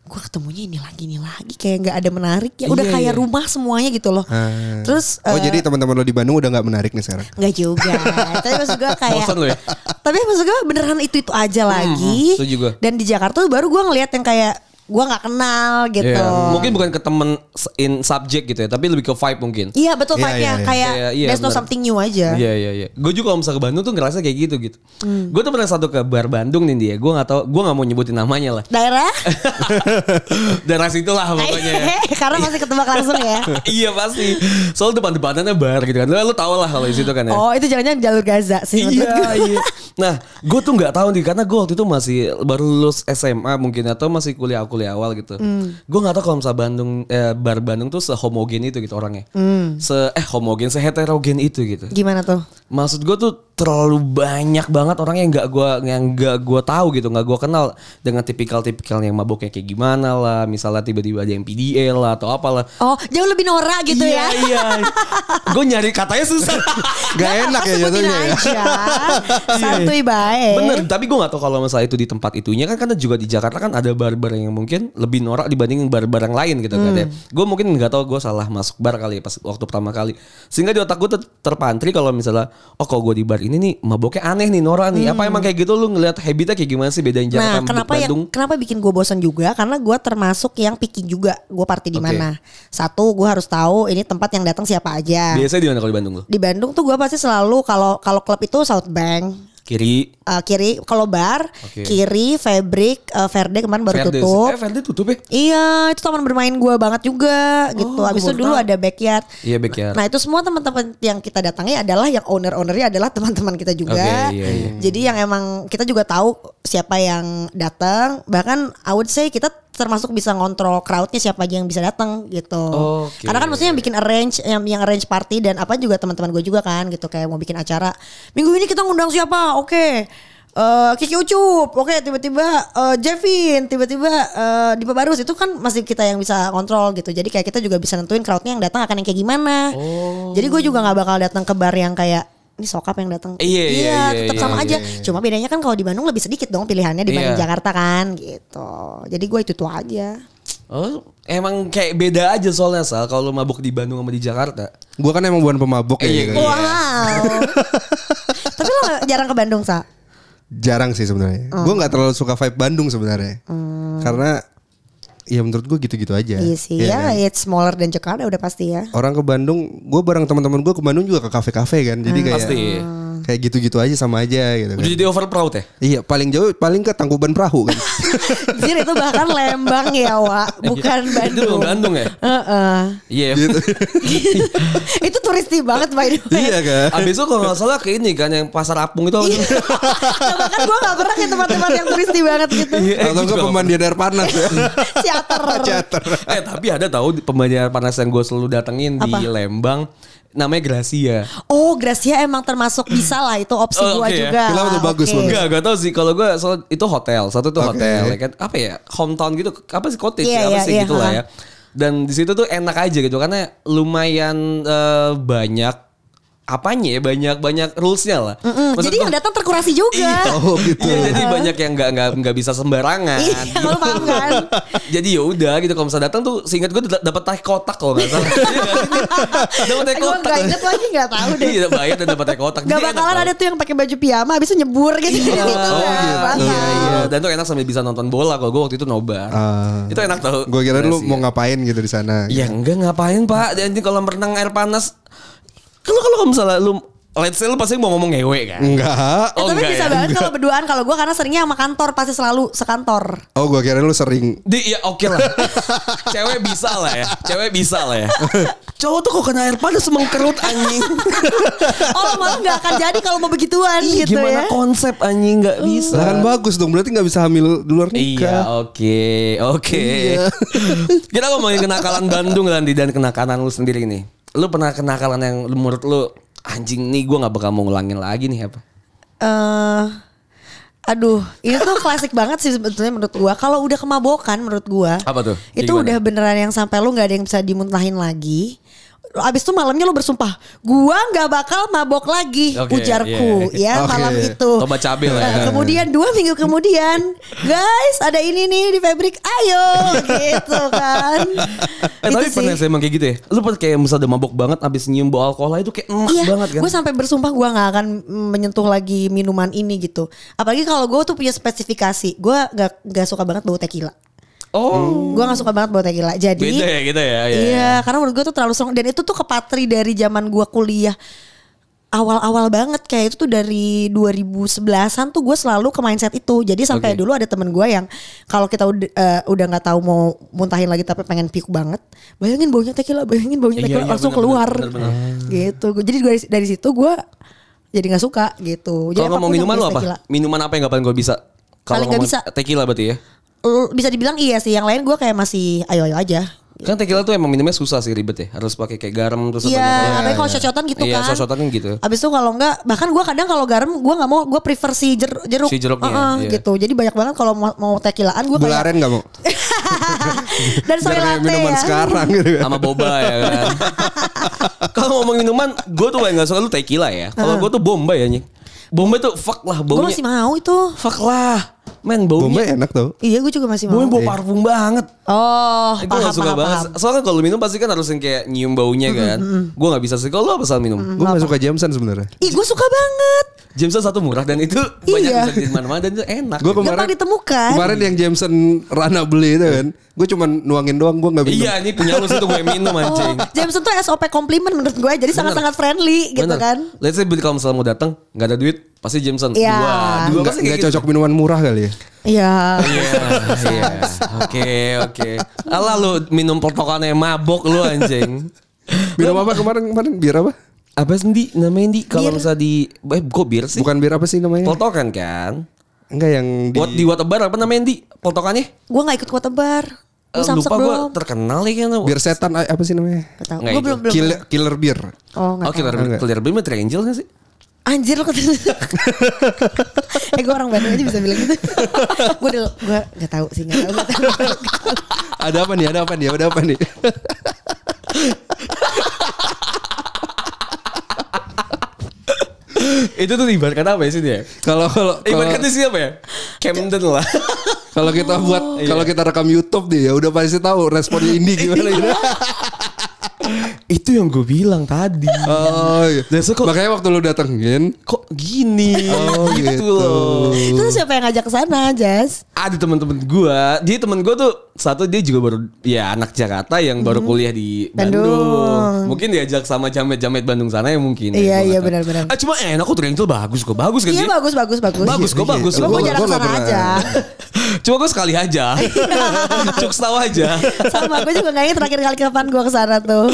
S3: gue ketemunya ini lagi ini lagi kayak nggak ada menarik ya udah
S2: Iya,
S3: kayak
S2: iya.
S3: rumah semuanya gitu loh
S1: Ah.
S3: terus
S1: Oh
S3: eh,
S1: jadi teman-teman lo di Bandung udah nggak menarik nih sekarang?
S3: nggak
S2: <laughs>
S3: juga tapi maksud gue kayak
S2: Bosan lu ya? Hmm,
S3: tapi maksud gue beneran itu itu aja lagi
S2: setuju gua.
S3: dan di Jakarta tuh baru gue ngeliat yang kayak gue nggak kenal gitu
S2: Iya. Mungkin bukan ke temen in subject gitu ya, tapi lebih ke vibe mungkin.
S3: iya betul
S1: Iya,
S3: vibe nya
S1: iya, iya.
S3: kayak
S2: Iya, iya,
S3: there's no
S2: bener.
S3: something new aja
S2: Iya iya iya. Gue juga kalau misalnya ke Bandung tuh ngerasa kayak gitu gitu.
S3: Hmm.
S2: Gue tuh pernah satu ke bar Bandung nih dia. Gue nggak tahu. Gue nggak mau nyebutin
S3: <laughs>
S2: namanya lah.
S3: daerah
S2: Daerah situ lah
S3: <laughs>
S2: pokoknya. ya.
S3: karena masih ketebak langsung
S2: <laughs>
S3: ya
S2: iya pasti. Soal depan depanannya bar gitu kan. Lo, lo tau lah kalau di situ kan ya.
S3: Oh itu jangan-jangan jalur Gaza sih menurut
S2: Iya,
S3: gua.
S2: iya. Nah, gue tuh nggak tahu nih karena gue waktu itu masih baru lulus SMA mungkin atau masih kuliah-kuliah awal gitu.
S3: Hmm.
S2: Gue nggak tahu kalau misalnya Bandung eh, bar Bandung tuh sehomogen itu gitu orangnya.
S3: Hmm.
S2: Se eh homogen, seheterogen itu gitu.
S3: Gimana tuh?
S2: Maksud gue tuh terlalu banyak banget orang yang nggak gua yang nggak gua tahu gitu, nggak gua kenal dengan tipikal-tipikal yang maboknya kayak gimana lah, misalnya tiba-tiba ada yang PDL lah atau apalah.
S3: Oh jauh lebih norak gitu
S2: iya,
S3: ya.
S2: Iya, Gue nyari katanya susah.
S3: <laughs>
S1: Gak enak ya
S3: Sebutin
S1: jatuhnya <laughs> ya.
S2: <laughs>
S3: aja. Santuy baik.
S2: Iya, Bener, tapi gue gak tahu kalau misalnya itu di tempat itunya kan karena juga di Jakarta kan ada bar-bar yang mungkin lebih norak dibanding bar-bar yang lain gitu kan ya.
S3: Hmm.
S2: Gue mungkin nggak tahu gue salah masuk bar kali ya pas waktu pertama kali. Sehingga di otak gue terpantri kalau misalnya oh kalau gue di bar ini nih maboknya aneh nih norak nih. Apa emang kayak gitu lu ngelihat habitnya kayak gimana sih bedain Jakarta
S3: Hmm. Nah,
S2: sama
S3: kenapa yang
S2: Bandung?
S3: kenapa bikin gue bosan juga? Karena gue termasuk yang picky juga. Gue party di
S2: Oke.
S3: mana? Satu, gue harus tahu ini tempat yang datang siapa aja.
S2: Biasanya di mana kalau di Bandung lu?
S3: Di Bandung tuh gue pasti selalu kalau kalau klub itu South Bank,
S2: Kiri.
S3: eh, kiri kalau bar,
S2: Oke.
S3: kiri Fabric, eh, Verde kemarin baru
S2: Verde.
S3: tutup.
S2: Eh Verde tutup ya?
S3: Iya, itu taman bermain gue banget juga gitu.
S2: gua
S3: Abis itu
S2: baru
S3: dulu
S2: tahu.
S3: ada backyard.
S2: Iya backyard.
S3: Nah itu semua teman-teman yang kita datangi adalah yang owner-ownernya adalah teman-teman kita juga.
S2: Oke, iya, iya.
S3: Jadi yang emang kita juga tahu siapa yang datang. Bahkan I would say kita termasuk bisa ngontrol crowdnya siapa aja yang bisa datang gitu.
S2: Oke.
S3: Karena kan maksudnya yang bikin arrange yang yang arrange party dan apa juga teman-teman gue juga kan gitu kayak mau bikin acara. Minggu ini kita ngundang siapa? Oke. Eh, Kiki Ucup, oke tiba-tiba eh, Jevin, tiba-tiba eh, Dipa Barus itu kan masih kita yang bisa kontrol gitu. Jadi kayak kita juga bisa nentuin crowdnya yang datang akan yang kayak gimana.
S2: Oh.
S3: Jadi gue juga nggak bakal datang ke bar yang kayak ini sokap yang datang.
S2: Iya, iya, iya,
S3: tetap
S2: iya,
S3: sama
S2: iya,
S3: aja. Cuma bedanya kan kalau di Bandung lebih sedikit dong pilihannya
S2: Iya.
S3: dibanding Jakarta kan gitu. Jadi gue itu tuh aja.
S2: Oh, emang kayak beda aja soalnya Sal kalau lu mabok di Bandung sama di Jakarta.
S1: Gue kan emang bukan pemabok ya.
S2: Iya,
S1: gitu.
S2: iya. <laughs>
S3: Wow. Tapi lo jarang ke Bandung
S2: Iya,
S3: sa?
S1: Jarang sih sebenarnya. Gue nggak terlalu suka vibe Bandung sebenarnya. Karena ya menurut gue gitu-gitu aja.
S3: Iya sih.
S1: Iya kan?
S3: Ya, it's smaller than Jakarta udah pasti ya.
S1: Orang ke Bandung, gue bareng teman-teman gue ke Bandung juga ke kafe-kafe kan. Jadi kayak
S2: Hmm, Pasti.
S1: kayak Kayak gitu-gitu aja sama aja gitu kan.
S2: Udah jadi over proud ya?
S1: Iya, paling jauh paling ke Tangkuban Perahu
S2: <laughs>
S1: kan.
S3: Jir itu bahkan Lembang ya Wak Bukan
S2: Iya, Itu
S3: Bandung
S2: Bandung ya?
S3: Heeh.
S2: Iya.
S1: gitu.
S3: itu turisti banget by the way.
S1: <laughs> iya kan?
S2: Abis itu kalau nggak salah ke ini kan yang pasar apung itu. apa tuh?
S3: <laughs> Nah, bahkan gue gak pernah ke tempat-tempat yang turisti banget gitu.
S2: Iya,
S1: Atau
S2: gua
S1: ke
S2: juga
S1: pemandian air panas
S2: <laughs>
S1: ya.
S3: Theater.
S1: Cater.
S2: eh tapi ada tahu di pemandian panas yang gue selalu datengin di
S3: Apa?
S2: Lembang namanya Gracia.
S3: Oh Gracia emang termasuk bisa lah itu opsi
S2: Oh,
S3: gua
S2: oke ya.
S3: juga.
S1: Film tuh bagus,
S3: Oke.
S1: bagus.
S2: Enggak, enggak tahu sih kalau gue soal itu hotel, satu itu
S1: Oke.
S2: hotel ya kan. Apa ya? Hometown gitu, apa sih cottage
S3: Iya,
S2: ya, apa
S3: iya,
S2: sih
S3: iya,
S2: gitu lah
S3: ha.
S2: ya. Dan di situ tuh enak aja gitu karena lumayan eh, banyak apanya ya banyak banyak rulesnya lah.
S3: Mm-mm.
S2: Maksud
S3: Jadi
S2: gua- <laughs>
S3: yang datang terkurasi juga.
S2: Iya.
S1: Oh, gitu.
S2: Iya,
S3: <laughs>
S2: jadi banyak yang nggak nggak nggak bisa sembarangan.
S3: Iya, <laughs> lo paham
S2: <laughs>
S3: kan?
S2: jadi ya udah gitu kalau misalnya datang tuh seingat gue dapat teh kotak kalau nggak
S3: <laughs>
S2: salah. Iya nggak sih? dapat teh
S3: Gue
S2: kotak.
S3: gak inget lagi gak tahu deh.
S2: Oh, Iya, bayar dan dapat teh kotak.
S3: Gak
S2: Jadi enak
S3: bakalan
S2: banget.
S3: ada tuh yang pakai baju piyama habis itu nyebur gitu di situ.
S2: Oh,
S3: kan.
S1: gitu.
S3: Bakal.
S2: Iya, iya. Dan tuh enak sambil bisa nonton bola kalau gue waktu itu nobar.
S1: Ah.
S2: itu enak tau.
S1: Gue kira lu
S2: Gracia.
S1: mau ngapain gitu di sana.
S2: Ya enggak ngapain pak Dan ini kolam renang air panas Kalau kalau misalnya lu Let's say lu pasti mau ngomong ngewe kan
S1: Iya. Enggak.
S3: Eh,
S2: Oh,
S3: tapi
S2: enggak
S3: bisa
S2: ya?
S3: banget kalau berduaan kalau gue karena seringnya sama kantor pasti selalu
S2: <laughs>
S3: sekantor.
S1: Oh, gue kira lu sering
S2: Di, ya oke lah Cewek bisa lah ya Cewek bisa lah
S1: <laughs>
S2: ya Cowok tuh kok kena air panas mengkerut anjing
S3: Oh lo malah gak akan jadi kalau mau begituan
S2: Ih,
S3: gitu
S2: Gimana
S3: ya. Oh.
S2: konsep anjing nggak bisa
S1: Lah kan bagus dong, berarti nggak bisa hamil di luar
S2: Iya,
S1: nikah.
S2: oke, oke.
S1: Iya.
S2: <laughs> Kita ngomongin kenakalan Bandung Randy dan kenakalan lu sendiri nih. Lu pernah kenakalan yang lu- menurut lu anjing nih gua nggak bakal mau ngulangin lagi nih apa?
S3: eh aduh, ini tuh klasik banget sih sebetulnya menurut gua. Kalau udah kemabokan menurut gua.
S2: Apa tuh? Kayak
S3: Itu
S2: gimana?
S3: udah beneran yang sampai lu nggak ada yang bisa dimuntahin lagi. Abis itu malamnya lu bersumpah, gua nggak bakal mabok lagi,
S2: Oke,
S3: ujarku
S1: iya.
S2: <laughs>
S3: ya
S1: Oke.
S3: malam itu.
S2: Tobat cabe lah ya.
S3: Nah, Kemudian dua minggu kemudian, guys ada ini nih di pabrik,
S2: <laughs>
S3: ayo gitu kan.
S2: Eh
S3: Itu
S2: tapi
S3: sih.
S2: pernah saya emang kayak gitu ya. Lu pernah kayak misalnya udah mabok banget abis nyium bau alkohol aja itu kayak enak
S3: Iya,
S2: banget kan.
S3: gue sampai bersumpah gue nggak akan menyentuh lagi minuman ini gitu. Apalagi kalau gue tuh punya spesifikasi, gue nggak nggak suka banget bau tequila.
S2: oh,
S3: Gue nggak suka banget bau tequila. Jadi
S2: beda ya gitu ya. ya.
S3: iya, karena menurut gue tuh terlalu strong. Dan itu tuh kepatri dari zaman gue kuliah awal-awal banget kayak itu tuh dari 2011an tuh gue selalu ke mindset itu. Jadi
S2: Oke.
S3: sampai dulu ada temen gue yang kalau kita udah eh, udah nggak tahu mau muntahin lagi tapi pengen piuk banget, bayangin baunya tequila, bayangin baunya
S2: Iya,
S3: tequila
S2: iya,
S3: langsung
S2: bener,
S3: keluar.
S2: bener, bener,
S3: Gitu. Jadi dari dari situ gue jadi nggak suka gitu. Jadi
S2: Kalau ngomong
S3: apapun yang
S2: minuman lu
S3: taste
S2: apa?
S3: tequila.
S2: Minuman apa yang gak paling gue bisa? Kalau
S3: Paling nggak
S2: ngomong
S3: bisa.
S2: tequila berarti ya.
S3: L- Bisa dibilang iya sih. Yang lain gue kayak masih ayo-ayo aja.
S2: Kan tequila tuh emang minumnya susah sih ribet ya. Harus pakai kayak garam terus
S3: Iya, apalagi kalau
S1: iya.
S3: cocotan gitu
S2: Iya,
S3: kan.
S2: cocotan kan gitu.
S3: Abis itu kalau enggak, bahkan gue kadang kalau garam gue nggak mau, gue prefer si jer- jeruk.
S2: Si jeruknya,
S3: Heeh,
S2: iya.
S3: gitu. Jadi banyak banget kalau mau, mau tequilaan gue kayak
S1: Bularen nggak mau.
S3: <laughs> dan
S1: Biar
S3: soy
S1: kayak
S3: latte
S1: minuman
S3: ya.
S1: sekarang gitu kan.
S2: sama boba ya kan. <laughs> Kalau ngomong minuman, gue tuh paling gak suka lu tequila ya. Kalau gue tuh bomba ya nyik. Bomba tuh fuck lah
S3: Gue
S2: baunya.
S3: Ah. masih mau itu.
S2: Fuck lah. Men baunya.
S1: Bombay enak tau.
S3: Iya, gue juga masih mau.
S2: Baunya bau parfum banget.
S3: Oh,
S2: Gue
S3: paham,
S2: gak suka
S3: paham,
S2: banget.
S3: paham.
S2: Soalnya kalau minum pasti kan harus yang kayak nyium baunya kan. Gue gak bisa sih. Kalau lu apa soal minum?
S1: Gue nggak suka Jameson sebenarnya.
S3: Ih, gue suka banget.
S2: Jameson satu murah dan itu banyak
S3: Iya.
S2: bisa di mana-mana dan itu enak.
S1: Gue kemarin
S3: Gampang ditemukan.
S1: Kemarin yang Jameson Rana beli itu kan, gue cuman nuangin doang, gue nggak minum.
S2: Iya ini punya lu sih tuh gue minum
S3: Oh,
S2: anjing.
S3: Jameson tuh SOP komplimen menurut gue. Jadi sangat-sangat friendly gitu
S2: Bener.
S3: kan.
S2: Let's say kalau misalnya mau datang nggak ada duit pasti Jameson
S3: Iya.
S2: dua dua
S1: Nggak
S2: pasti kayak
S1: nggak
S2: gitu.
S1: cocok minuman murah kali ya.
S3: Iya.
S2: Iya, iya. Oke, oke. Alah lu minum potongannya mabok lu anjing.
S1: Minum apa kemarin kemarin bir apa?
S2: Apa sih Ndi? namanya Ndi? Kalau misalnya di eh kok bir sih?
S1: Bukan bir apa sih namanya?
S2: Potongan kan?
S1: Enggak yang di
S2: Buat di Watabar apa namanya Ndi? Potongannya?
S3: Gue gak ikut Waterbar.
S2: Eh,
S3: Gue samsak
S2: lupa gue
S3: belum.
S2: terkenal ya kan.
S1: bir setan a- apa sih namanya?
S2: Nggak
S3: Gue
S2: ikut.
S3: belum belum.
S1: Killer, killer beer.
S3: Oh, nggak
S2: Oh,
S3: tahu.
S2: Killer
S1: Enggak.
S2: Killer Beam Triangle Angel gak sih?
S3: Anjir lo kata <laughs> Eh gue orang Bandung aja bisa bilang <laughs> gitu Gue udah Gue gak tau sih Gak tau gak tau.
S1: Ada apa nih? Ada apa nih? Ada apa nih?
S2: Itu tuh ibaratkan apa ya sih dia?
S1: Kalau kalau kalau-
S2: Ibaratkan sih apa ya? Camden lah.
S1: kalau kita buat kalau kita rekam YouTube nih ya udah pasti tahu responnya Indi gimana gitu.
S2: <laughs> Itu yang gue bilang tadi.
S1: Oh, iya.
S2: Dan so, kok,
S1: Makanya waktu lu datengin,
S2: kok gini?
S1: Oh,
S2: <laughs> gitu,
S1: gitu.
S2: loh.
S3: Terus siapa yang ngajak ke sana, Jas?
S2: Ada teman-teman gue. Dia teman gue tuh satu dia juga baru ya anak Jakarta yang baru kuliah di Bandung.
S3: Mhm. Bandung.
S2: Mungkin diajak sama jamet-jamet Bandung sana ya mungkin. ya, gua
S3: Iya,
S2: nggak
S3: iya,
S2: tahu.
S3: benar-benar.
S2: Ah, cuma enak kok Triangle bagus kok bagus kan
S3: Iya
S2: dia?
S3: bagus, bagus, bagus.
S2: Bagus kok,
S1: Iya,
S2: bagus.
S1: iya.
S3: Gue mau
S1: Gua-
S3: jalan
S1: gua
S3: ke
S1: nggak
S3: sana
S1: pernah.
S3: aja.
S2: <laughs> Cuma gue sekali
S3: <laughs>
S2: aja.
S3: Iya.
S2: Cuks tahu aja.
S3: Sama gue juga kayaknya terakhir kali kapan gue ke sana tuh.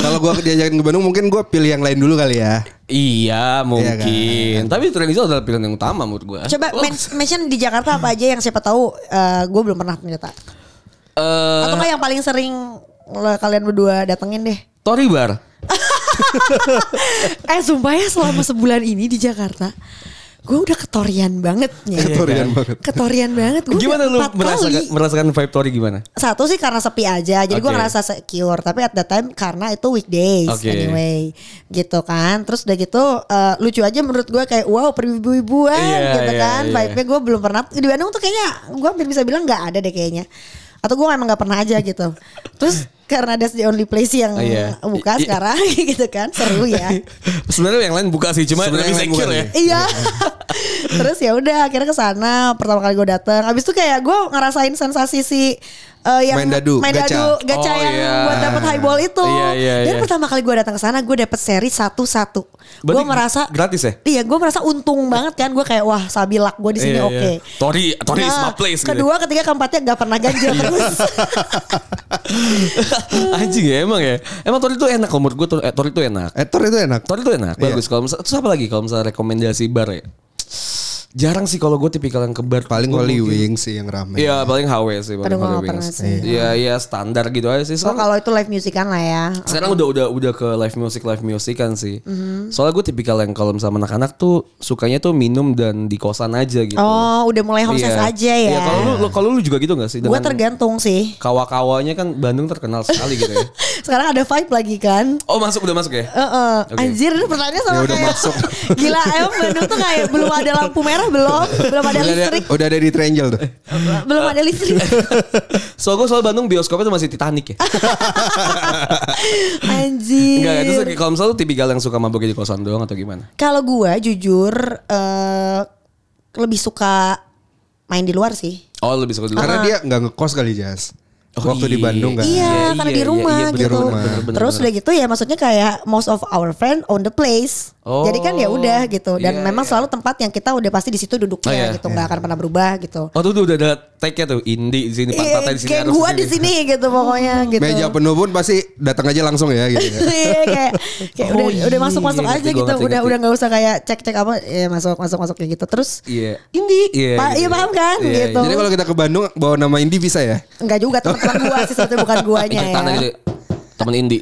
S1: kalau gua diajakin ke Bandung mungkin gua pilih yang lain dulu kali ya.
S2: Iya
S1: kan?
S2: mungkin. Tapi Triangle adalah pilihan yang utama menurut gue.
S3: Coba
S1: Oh.
S3: men- mention di Jakarta apa aja yang siapa tahu eh, gue belum pernah ternyata.
S2: Eh,
S3: Atau nggak yang paling sering lo- kalian berdua datengin deh.
S2: Tori Bar.
S3: Eh sumpah ya selama sebulan ini di Jakarta gue udah ketorian banget
S1: Iya,
S3: ya.
S1: Ketorian kan banget.
S3: Ketorian banget. Gua
S2: Gimana
S3: udah
S2: lu
S3: empat
S2: merasakan,
S3: kali.
S2: merasakan vibe Tori gimana?
S3: Satu sih karena sepi aja, jadi gua
S2: Oke.
S3: ngerasa secure. Tapi at that time karena itu weekdays
S2: Oke.
S3: anyway, gitu kan. Terus udah gitu eh, lucu aja menurut gua kayak wow peribu-ibuan
S2: Iya,
S3: gitu
S2: iya,
S3: kan.
S2: iya.
S3: Vibe-nya gue belum pernah di Bandung tuh kayaknya gua hampir bisa bilang nggak ada deh kayaknya. Atau gua emang nggak pernah aja gitu. Terus karena that's the only place yang
S2: Oh, iya. I-
S3: buka
S2: i-
S3: sekarang <laughs> gitu kan, seru ya.
S2: <laughs> Sebenarnya yang lain buka sih, cuma
S1: Sebenarnya yang lain
S2: lebih secure
S1: bukan
S2: ya.
S1: ya.
S3: Iya. Terus ya udah akhirnya ke sana pertama kali gue dateng. Abis itu kayak gue ngerasain sensasi si eh, yang
S1: Main dadu,
S3: main
S1: gacha.
S3: dadu, gacha
S2: Oh,
S3: yang
S2: iya.
S3: buat dapet highball itu.
S2: Iya, iya,
S3: Dan
S2: iya.
S3: pertama kali gue datang ke sana gue dapet seri satu-satu. Gue
S2: Berarti
S3: merasa
S2: gratis ya?
S3: Iya, gue merasa untung banget kan. Gue kayak wah sabilak gue di sini
S2: Iya,
S3: oke.
S2: iya. Tori, Tori is my
S3: Nah,
S2: place. gitu. Iya.
S3: kedua, ketiga, keempatnya gak pernah ganjil terus.
S2: <laughs> Anjing ya emang ya. Emang Tori itu enak kalau menurut gue Tori, eh, Tori itu enak.
S1: Etor itu enak.
S2: Tori itu
S3: Iya.
S2: enak, bagus. Kalau misalnya terus apa lagi kalau misalnya rekomendasi bar ya? Jarang sih kalau gue tipikal yang ke bar
S1: Paling
S2: Gua
S1: Holy
S2: Oh, mungkin-
S1: Wings sih yang rame.
S2: Iya, paling HW sih, paling
S3: Aduh, gua
S2: HW
S3: nggak pernah
S2: Wings.
S3: sih.
S2: Iya, iya standar gitu aja sih.
S3: so,
S2: Sekarang,
S3: kalau itu live music kan lah ya.
S2: sekarang udah udah udah ke live music live music kan sih.
S3: Mhm.
S2: Soalnya gue tipikal yang kalau misalnya anak-anak tuh sukanya tuh minum dan di kosan aja gitu.
S3: Oh, udah mulai home
S2: Iya.
S3: sense aja ya.
S2: Iya, kalau lu lu- kalau lu juga gitu gak sih?
S3: gue
S2: Dengan
S3: tergantung sih. <laughs>
S2: Kawa-kawanya kan Bandung terkenal sekali gitu ya.
S3: Sekarang ada vibe lagi kan.
S2: Oh masuk udah masuk ya?
S3: Eh, eh.
S2: Oke.
S3: Anjir ini pertanyaannya sama
S1: Ya udah
S3: kayak
S1: masuk.
S3: <laughs> Gila emang Bandung tuh kayak Belum ada lampu merah belum Belum ada
S1: Udah ada,
S3: listrik
S1: udah ada di Triangle tuh.
S3: iya. Belum ada listrik
S2: Soal gue soal Bandung bioskopnya tuh masih Titanic ya.
S3: Anjir
S2: <laughs> Enggak, itu se- kalau misalnya lu tipikal yang suka mabuknya di kosan doang atau gimana?
S3: Kalau gue jujur eh Lebih suka Main di luar sih
S2: Oh lebih suka di luar.
S1: Karena dia nggak ngekos kali Jas. Waktu di Bandung kan.
S3: Iya,
S2: Iya, iya,
S3: karena di
S2: iya,
S3: rumah
S2: iya, bener,
S3: gitu.
S1: bener, bener,
S2: bener,
S3: Terus
S2: bener.
S3: udah gitu ya maksudnya kayak most of our friend own the place.
S2: Oh,
S3: Jadi kan ya udah gitu
S2: iya,
S3: dan memang
S2: iya.
S3: selalu tempat yang kita udah pasti di situ duduknya
S2: Oh, iya,
S3: gitu, nggak akan pernah berubah gitu.
S2: Oh tuh, tuh udah ada tag-nya tuh Indi di sini,
S3: Iya,
S2: pantatnya di sini.
S3: kayak
S2: harus
S3: gua di sini gitu
S2: <laughs>
S3: pokoknya gitu.
S1: Meja penuh pun pasti datang aja langsung ya gitu ya.
S3: Iya kayak kayak
S2: <laughs> Oh,
S3: udah
S2: iya,
S3: udah masuk masuk
S2: ngerti,
S3: aja
S2: gua
S3: gitu
S2: ngerti,
S3: udah
S2: ngerti.
S3: udah nggak usah kayak cek cek apa ya masuk masuk masuk kayak gitu terus
S2: Iya.
S3: Indi
S2: Iya,
S3: Pa-
S2: gitu.
S3: iya paham kan
S2: Iya, iya.
S3: gitu
S1: Jadi kalau kita ke Bandung bawa nama Indi bisa ya?
S3: nggak juga teman-teman gua sih sebetulnya bukan
S2: Injek
S3: guanya ya
S2: tanah gitu.
S3: <laughs>
S2: Temen Indi.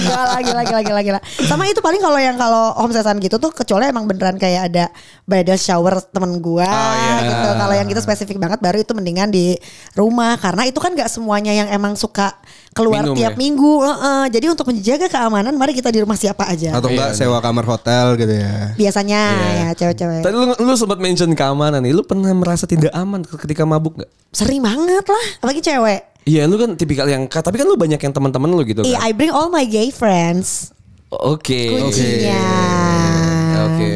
S3: Gak lagi lagi lagi lagi lah. Sama itu paling kalau yang kalau homesesan gitu tuh kecuali emang beneran kayak ada bridal shower temen gua
S2: Oh, iya.
S3: gitu. Kalau yang gitu spesifik banget baru itu mendingan di rumah karena itu kan gak semuanya yang emang suka keluar
S2: Minum
S3: tiap
S2: ya?
S3: minggu. Heeh. Jadi untuk menjaga keamanan mari kita di rumah siapa aja.
S1: Atau
S2: Iya,
S1: enggak sewa kamar hotel gitu ya?
S3: Biasanya ya cewek-cewek.
S2: Tadi lu, lu sempat mention keamanan nih. Lu pernah merasa tidak aman ketika mabuk gak?
S3: Sering banget lah apalagi cewek.
S2: Iya lu kan tipikal yang Tapi kan lu banyak yang teman-teman lu gitu
S3: Iya,
S2: kan
S3: I bring all my gay friends.
S2: Oke
S3: Kuncinya.
S2: Oke.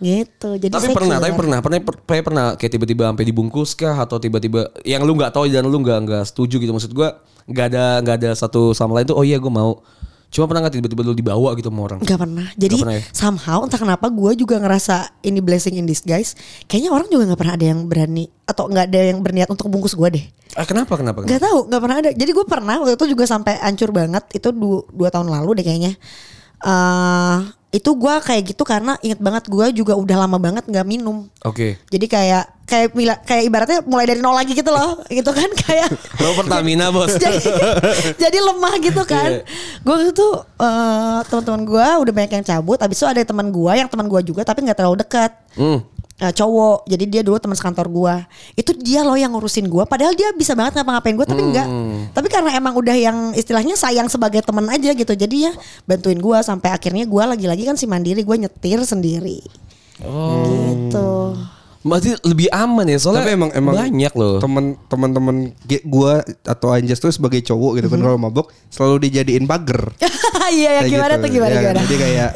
S3: Gitu. Jadi
S2: Tapi
S3: saya
S2: pernah
S3: kira-
S2: Tapi pernah Pernah per- kayak pernah Kayak tiba-tiba sampai dibungkus kah Atau tiba-tiba Yang lu gak tahu Dan lu gak, nggak setuju gitu Maksud gua Gak ada Gak ada satu sama lain tuh Oh iya gue mau Cuma pernah gak tiba-tiba lu dibawa gitu sama orang
S3: Gak pernah. Jadi
S2: Nggak pernah ya?
S3: somehow entah kenapa gue juga ngerasa ini blessing in disguise. Kayaknya orang juga nggak pernah ada yang berani atau nggak ada yang berniat untuk bungkus gue deh.
S2: Ah, Kenapa kenapa, kenapa?
S3: Gak tahu, nggak pernah ada. Jadi gue pernah waktu itu juga sampai hancur banget. Itu du- dua, tahun lalu deh kayaknya. eh itu gue kayak gitu karena inget banget gue juga udah lama banget nggak minum.
S2: Oke
S3: Jadi kayak kayak mila- kayak ibaratnya mulai dari nol lagi gitu loh, gitu kan kayak
S2: Lo Pertamina bos
S3: <laughs> jadi, jadi lemah gitu kan. Gue itu eh teman-teman gue udah banyak yang cabut. Abis itu ada teman gue yang teman gue juga tapi nggak terlalu dekat.
S2: Hmm.
S3: Eh, cowok jadi dia dulu teman sekantor gua itu dia loh yang ngurusin gua padahal dia bisa banget ngapa-ngapain gua tapi enggak tapi karena emang udah yang istilahnya sayang sebagai teman aja gitu jadi ya bantuin gua sampai akhirnya gua lagi-lagi kan si mandiri gua nyetir sendiri gitu
S2: Berarti lebih aman ya soalnya
S1: Tapi emang emang
S2: banyak loh.
S1: Temen temen temen ge- gua atau Anjas tuh sebagai cowok gitu kan kalau mabok selalu dijadiin pagar.
S3: <laughs> Iya Mm-hmm. ya
S1: Kayak
S3: gimana
S1: gitu.
S3: tuh gimana
S1: Iya kan?
S3: gimana.
S1: Jadi
S3: <laughs>
S1: kayak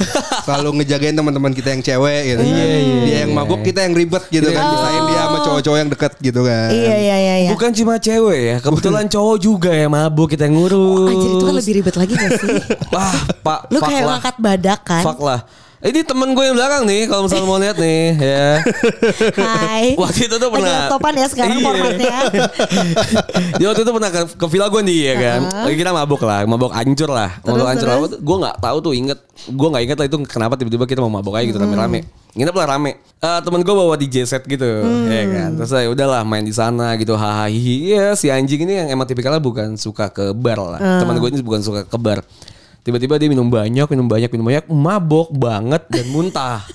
S1: selalu ngejagain teman-teman kita yang cewek gitu
S3: Iya,
S1: kan. dia yang mabuk kita yang ribet gitu kan. Misahin dia sama cowok-cowok yang dekat gitu kan.
S3: Oh. Iya iya iya iya.
S2: Bukan cuma cewek ya, kebetulan cowok juga ya mabuk kita yang ngurus.
S3: Anjir itu kan lebih ribet lagi gak
S2: <laughs>
S3: sih?
S2: Wah, Pak,
S3: Lu
S2: fuck
S3: kayak
S2: lah.
S3: ngangkat badak kan?
S2: Fuck lah. Ini temen gue yang belakang nih kalau misalnya mau lihat nih ya.
S3: Hai.
S2: <laughs> Waktu itu tuh
S3: Lagi
S2: pernah.
S3: laptopan ya sekarang
S2: Iya. <laughs>
S3: formatnya.
S2: Dia Ya, waktu itu pernah ke, ke villa gue nih ya kan. Lagi kita mabuk lah, mabuk ancur lah, mabuk ancur lah. Gue nggak tahu tuh inget, gue nggak inget lah itu kenapa tiba-tiba kita mau mabuk aja gitu rame-rame. Nginep lah rame. Eh temen gue bawa DJ set gitu, ya kan. Terus saya udahlah main di sana gitu, hahaha. Iya si anjing ini yang emang tipikalnya bukan suka ke bar lah. Temen gue ini bukan suka ke bar. Tiba-tiba dia minum banyak, minum banyak, minum banyak, mabok banget dan muntah.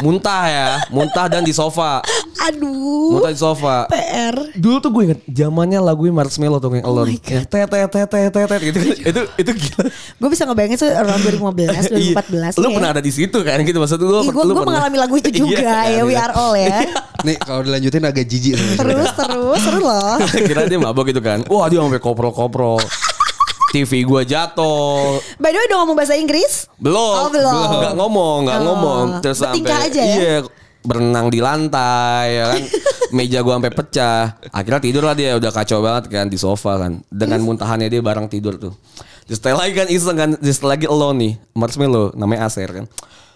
S2: muntah ya, muntah dan di sofa.
S3: Aduh.
S2: Muntah di sofa.
S3: PR.
S2: Dulu tuh gue inget zamannya lagu Marshmello tuh
S3: Oh
S2: yang Alone. Yang tet tet tet tet tet tet gitu.
S3: Iya.
S2: itu itu <laughs> gila. Iya.
S3: Gue bisa ngebayangin tuh
S2: <laughs>
S3: around 2015, 2014.
S2: Lu
S3: ya.
S2: pernah ada di situ kan gitu maksud gue.
S3: Ih, gua-
S2: lu
S3: gua
S2: pernah-
S3: mengalami lagu itu juga
S2: <laughs> Iya, kan,
S3: ya, We
S2: gitu. <laughs>
S3: Are All ya.
S1: Nih kalau dilanjutin agak jijik sebenarnya.
S3: Terus terus seru loh.
S2: Kira dia mabok gitu kan. Wah, dia sampai
S3: <laughs>
S2: koprol-koprol. TV gua jatuh.
S3: By the way udah ngomong bahasa Inggris?
S2: Belum.
S3: Oh, belum.
S2: Nggak ngomong, nggak
S3: Oh.
S2: ngomong. Terus
S3: Bertingkah
S2: sampai
S3: aja ya?
S2: iya berenang di lantai ya
S3: <laughs>
S2: kan. Meja gua sampai pecah. Akhirnya tidur lah dia udah kacau banget kan di sofa kan. Dengan muntahannya dia bareng tidur tuh. Terus setelah lagi kan iseng kan, terus setelah lagi lo nih, Marshmello namanya Aser kan.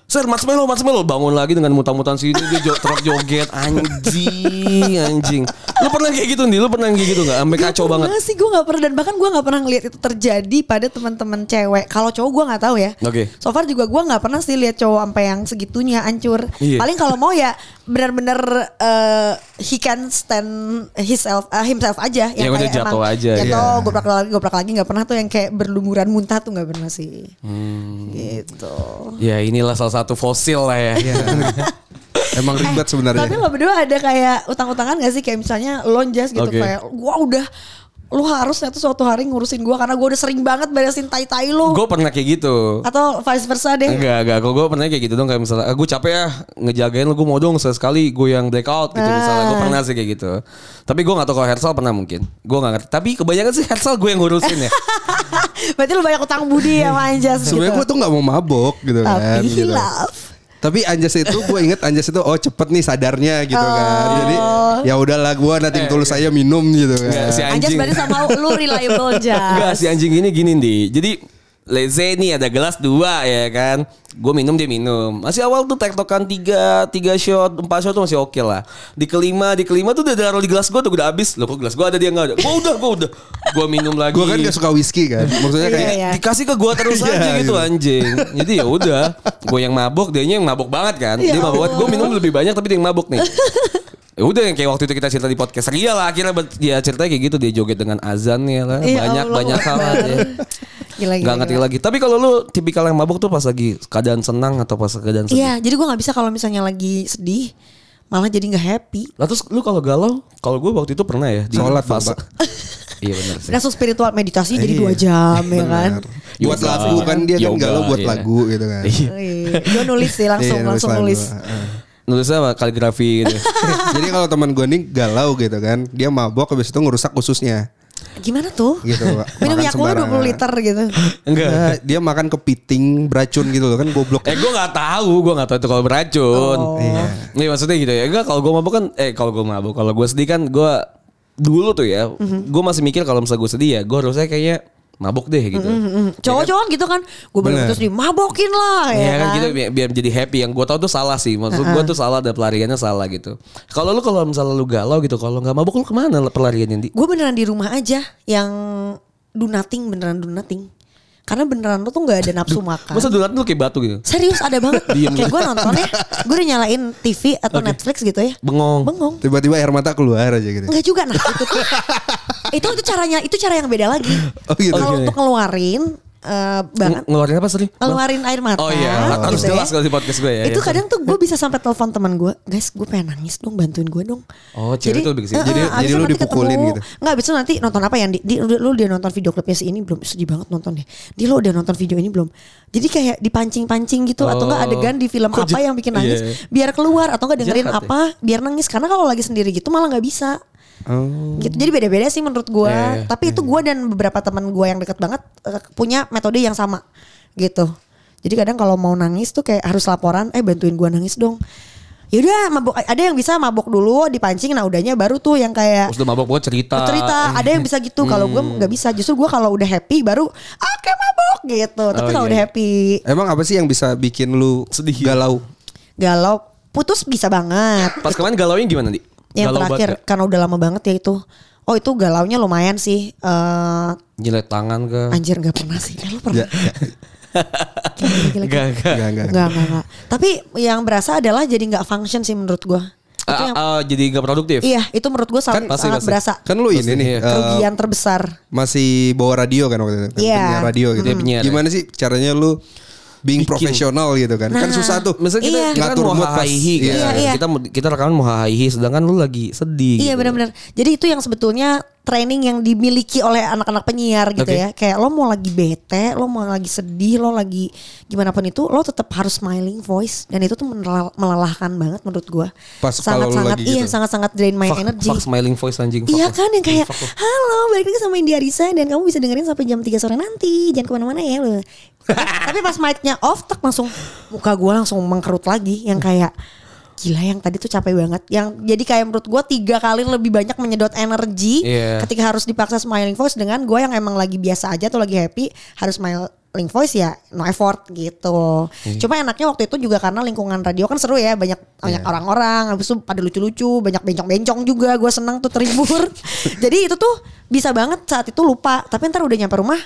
S2: Sir, Marshmello, Marshmello bangun lagi dengan mutan-mutan sini dia jo truk joget anjing, anjing. Lu pernah kayak gitu nih, lu pernah kayak gitu nggak? Sampai kacau banget.
S3: Enggak sih gue gak pernah dan bahkan gue gak pernah ngelihat itu terjadi pada teman-teman cewek. Kalau cowok gue gak tahu ya.
S2: Oke.
S3: So far juga gue gak pernah sih lihat cowok sampai yang segitunya hancur.
S2: Iya.
S3: Paling kalau mau ya benar-benar eh, he can stand himself eh, himself aja
S2: Iya, maksudnya
S3: kayak
S2: jatuh
S3: emang
S2: aja,
S3: Jatuh,
S1: iya.
S3: goprak lagi, goprak lagi gak pernah tuh yang kayak berlumuran muntah tuh gak pernah sih.
S2: Hmm.
S3: Gitu.
S2: Ya inilah salah satu fosil lah ya.
S3: Iya.
S1: Emang ribet sebenarnya.
S3: Eh, Tapi lo berdua ada kayak utang-utangan gak sih kayak misalnya lonjas gitu
S2: Oke.
S3: kayak gua udah lu harusnya tuh suatu hari ngurusin gua karena gua udah sering banget beresin tai-tai lu.
S2: Gue pernah kayak gitu.
S3: Atau vice versa deh.
S2: Enggak, enggak. Kalau gue pernah kayak gitu dong kayak misalnya, ah, gue capek ya ngejagain lu, gue mau dong sesekali gue yang blackout
S3: Ah.
S2: gitu misalnya. Gue pernah sih kayak gitu. Tapi gue gak tau kalau Hersal pernah mungkin. Gue gak ngerti. Tapi kebanyakan sih Hersal gue yang ngurusin
S3: <laughs>
S2: ya.
S3: <laughs> Berarti lu banyak utang budi ya sama Anjas gitu.
S1: Sebenarnya gue tuh nggak mau mabok gitu kan.
S3: Tapi
S1: gitu.
S3: hilaf.
S1: Tapi Anjas itu gue inget Anjas itu oh cepet nih sadarnya gitu
S3: Oh.
S1: kan. Jadi ya udahlah gue nanti
S2: Eh,
S1: tulus
S2: iya.
S1: saya minum gitu
S2: Enggak,
S1: kan.
S2: si
S3: Anjas
S2: Ya, anjing.
S3: berarti sama lu reliable
S2: Enggak,
S3: Jas.
S2: si anjing ini gini di. Jadi Leze nih ada gelas dua ya kan Gue minum dia minum Masih awal tuh tektokan tiga Tiga shot Empat shot tuh masih oke lah Di kelima Di kelima tuh udah taruh di gelas gue tuh udah habis Loh kok gelas gue ada dia gak ada Gue udah gue udah Gue minum lagi
S1: Gue kan gak suka whisky kan. Maksudnya kayak
S3: <laughs> Iya, iya.
S2: Eh, dikasih ke gua terus
S1: Iya,
S2: aja gitu
S1: gitu.
S2: anjing. Jadi ya udah, gua yang mabok, dia yang mabok banget kan. dia
S3: Ya
S2: mabok banget,
S3: Allah.
S2: gua minum lebih banyak tapi dia yang mabok
S3: <laughs>
S2: nih. Ya udah yang kayak waktu itu kita cerita di podcast Ria lah akhirnya ber- dia ceritanya kayak gitu dia joget dengan azannya lah
S3: Ya
S2: banyak
S3: Allah,
S2: banyak hal
S3: Akbar.
S2: aja.
S3: Gila, gila,
S2: Gak ngerti
S3: gila.
S2: lagi. Tapi kalau lu tipikal yang mabok tuh pas lagi keadaan senang atau pas keadaan sedih.
S3: Iya, jadi gua nggak bisa kalau misalnya lagi sedih malah jadi nggak happy.
S2: Lah terus lu kalau galau, kalau gua waktu itu pernah ya di
S1: Sholat dong,
S2: fase.
S1: Pak.
S2: <laughs> iya benar sih.
S3: Langsung spiritual meditasi jadi
S1: Iya.
S3: dua jam ya kan.
S1: benar. Buat
S2: Yoga.
S1: lagu kan dia kan
S2: Yoga,
S1: galau buat
S2: iya.
S1: lagu gitu kan.
S3: Iya, Gua nulis sih langsung
S1: Iya,
S3: langsung
S1: lagu.
S3: nulis.
S1: Heeh.
S2: Nulisnya apa? kaligrafi
S3: <laughs>
S2: gitu.
S1: Jadi kalau teman gue nih galau gitu kan, dia mabok habis itu ngerusak ususnya
S3: Gimana tuh?
S1: gitu.
S3: <laughs> Minum
S1: Makan
S3: Yakult
S1: sembarangan.
S3: 20 liter gitu.
S2: Enggak.
S1: Enggak, Nah, dia makan kepiting beracun gitu loh kan goblok.
S2: Eh gue nggak tahu, gue nggak tahu itu kalau beracun.
S3: Oh.
S2: Iya. Nih maksudnya gitu ya. Enggak kalau gue mabuk kan, eh kalau gue mabuk, kalau gue sedih kan gue dulu tuh ya,
S3: Mhm.
S2: gue masih mikir kalau misalnya gue sedih ya, gue harusnya kayaknya mabuk deh gitu.
S3: Mm, Cowok-cowok gitu kan, gue baru
S1: Bener.
S3: terus dimabokin lah ya,
S2: Ya kan
S3: kan.
S2: gitu biar, biar jadi happy. Yang gue tau tuh salah sih. Maksud gue tuh salah ada pelariannya salah gitu. Kalau lu kalau misalnya lu galau gitu, kalau nggak mabuk lu kemana pelariannya di?
S3: Gue beneran di rumah aja yang do nothing beneran do nothing. Karena beneran lo tuh nggak ada nafsu makan.
S2: Masa donat lu kayak batu gitu?
S3: Serius ada banget.
S2: Diem
S3: Kayak gue nonton ya, gue udah nyalain TV atau Netflix gitu ya.
S2: Bengong.
S3: Bengong.
S1: Tiba-tiba air mata keluar aja gitu.
S2: Oh,
S3: Enggak juga nah itu tuh. itu itu caranya itu cara yang beda lagi.
S1: Oh, gitu.
S3: Kalau
S2: iya.
S1: Oke.
S3: untuk ngeluarin eh, banget
S4: Ngeluarin apa sih?
S3: ngeluarin air mata.
S4: Oh iya, harus
S3: gitu ya.
S4: jelas kalau di podcast gue ya.
S3: itu
S4: ya.
S3: kadang tuh gue bisa sampai telepon teman gue, guys, gue pengen nangis dong, bantuin gue dong.
S4: Oh, cewek tuh lebih ke situ.
S3: eh,
S1: Jadi-
S3: eh, abis
S1: jadi
S3: itu
S1: lu
S3: nanti
S1: dipukulin
S3: ketemu.
S1: gitu.
S3: Nggak, abis itu nanti nonton apa yang di, di- lu dia nonton video klipnya si ini belum sedih banget nonton deh. Dia lu udah nonton video ini belum. Jadi kayak dipancing-pancing gitu atau enggak adegan di film
S4: Oh. Kok
S3: apa
S4: jad-
S3: yang bikin nangis
S4: iya.
S3: biar keluar atau enggak dengerin
S4: Jahat ya.
S3: apa biar nangis karena kalau lagi sendiri gitu malah nggak bisa.
S1: Oh.
S3: Gitu. Jadi beda-beda sih menurut gue.
S4: Iya, iya.
S3: Tapi itu gue dan beberapa teman gue yang deket banget eh, punya metode yang sama gitu. Jadi kadang kalau mau nangis tuh kayak harus laporan, eh bantuin gue nangis dong. Yaudah mabok ada yang bisa mabok dulu dipancing nah udahnya baru tuh yang kayak
S4: Terus udah mabok gue cerita. Hmm.
S3: cerita ada yang bisa gitu kalau gue nggak bisa justru gue kalau udah happy baru oke mabok gitu tapi
S4: Oh, iya,
S3: kalau udah
S4: iya.
S3: happy
S1: Emang apa sih yang bisa bikin lu
S4: Sedih.
S2: ya?
S1: galau?
S3: galau putus bisa banget
S4: Pas kemarin galauin gimana nih?
S3: yang
S4: Galau
S3: terakhir
S4: banget
S3: karena udah lama banget ya itu oh itu galaunya lumayan sih Eh
S4: nggak? Jilat tangan ke.
S3: anjir nggak pernah sih eh, lu pernah
S1: Ya, ya,
S4: Enggak, enggak.
S3: Gila, gila, gila.
S1: enggak, enggak.
S3: Enggak, enggak, enggak. Tapi yang berasa adalah jadi nggak function sih menurut gue
S4: Ah,
S3: itu yang,
S4: ah, jadi gak produktif.
S3: iya itu menurut gue
S4: Kan
S3: sangat,
S4: pasti,
S3: sangat
S4: pasti.
S3: berasa
S1: Kan lu ini
S4: Pasti, iya.
S1: nih eh, iya.
S3: kerugian terbesar
S1: masih bawa radio kan waktu itu. Kan
S3: Iya. ya.
S1: penyiar radio gitu.
S4: Dia penyiar,
S1: Gimana sih caranya lu being
S4: Bikin.
S1: profesional gitu kan? kan
S3: Nah.
S1: susah tuh.
S4: Misalnya kita,
S3: Iya.
S4: kita kan
S1: Ngatur
S4: mau
S1: mood pas-
S4: hahihi kan.
S1: Iya,
S3: iya.
S4: Kita mau- kita rekaman mau hahihi sedangkan lu lagi sedih.
S3: Iya
S4: gitu.
S3: benar-benar. Jadi itu yang sebetulnya training yang dimiliki oleh anak-anak penyiar gitu
S4: Oke.
S3: ya. Kayak lo mau lagi bete, lo mau lagi sedih, lo lagi gimana pun itu, lo tetap harus smiling voice dan itu tuh melel- melelahkan banget menurut gua.
S1: Pas kalau lo
S3: sangat-sangat
S1: lagi
S3: iya
S1: gitu.
S3: sangat-sangat drain my
S4: Fuck,
S3: energy.
S4: fuck smiling voice anjing. fuck
S3: Iya
S4: off.
S3: kan yang kayak halo balik lagi sama India Arisa dan kamu bisa dengerin sampai jam 3 sore nanti jangan kemana-mana ya
S4: <laughs>
S3: lo. Tapi pas mic-nya off tak langsung muka gue langsung mengkerut lagi yang kayak gila yang tadi tuh capek banget yang jadi kayak menurut gue tiga kali lebih banyak menyedot energi
S4: Iya.
S3: ketika harus dipaksa smiling voice dengan gue yang emang lagi biasa aja atau lagi happy harus smiling voice ya no effort gitu
S1: Iya.
S3: cuma enaknya waktu itu juga karena lingkungan radio kan seru ya banyak banyak
S1: Iya.
S3: orang-orang habis itu pada lucu-lucu banyak bencong-bencong juga gue seneng
S1: <laughs>
S3: tuh terhibur jadi itu tuh bisa banget saat itu lupa tapi ntar udah nyampe rumah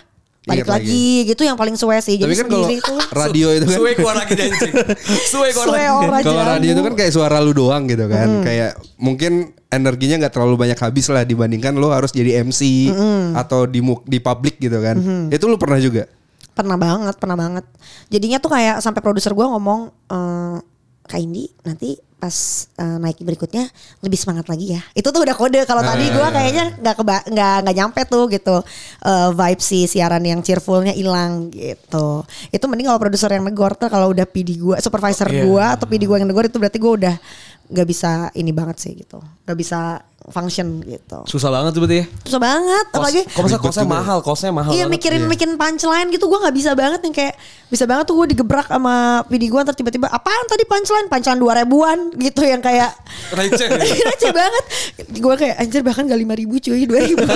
S3: balik
S1: Ingat Iya, lagi.
S3: lagi. gitu yang paling suwe sih
S1: Tapi
S3: jadi
S1: kan kalau
S3: sendiri tuh
S1: radio itu kan
S4: Suwe keluar lagi dan anjing. <laughs> Suwe keluar
S3: Suwe
S4: lagi.
S3: orang
S1: Kalau
S3: jamu.
S1: radio itu kan kayak suara lu doang gitu kan.
S3: Hmm.
S1: Kayak mungkin energinya nggak terlalu banyak habis lah dibandingkan lu harus jadi MC
S3: Hmm.
S1: atau di mu- di publik gitu kan. Itu lu pernah juga.
S3: Pernah banget, pernah banget. Jadinya tuh kayak sampai produser gua ngomong eh Kak Indi nanti pas eh, naik berikutnya lebih semangat lagi ya. Itu tuh udah kode kalau tadi gua kayaknya nggak keba- nggak nggak nyampe tuh gitu Eh, vibe si siaran yang cheerfulnya hilang gitu. Itu mending kalau produser yang negor tuh kalau udah PD gua supervisor gua atau PD gua yang negor itu berarti gua udah nggak bisa ini banget sih gitu. Nggak bisa function gitu.
S4: Susah banget tuh berarti ya.
S3: Susah banget
S4: Kos,
S3: apalagi
S4: kok masa kosnya mahal, kosnya mahal.
S3: Iya
S4: banget.
S3: mikirin mikirin punchline gitu gue nggak bisa banget yang kayak bisa banget tuh gue digebrak sama video gue ntar tiba-tiba apaan tadi punchline punchline dua ribuan gitu yang kayak <laughs>
S4: Receh.
S3: receh banget gue kayak anjir bahkan gak lima ribu cuy dua ribu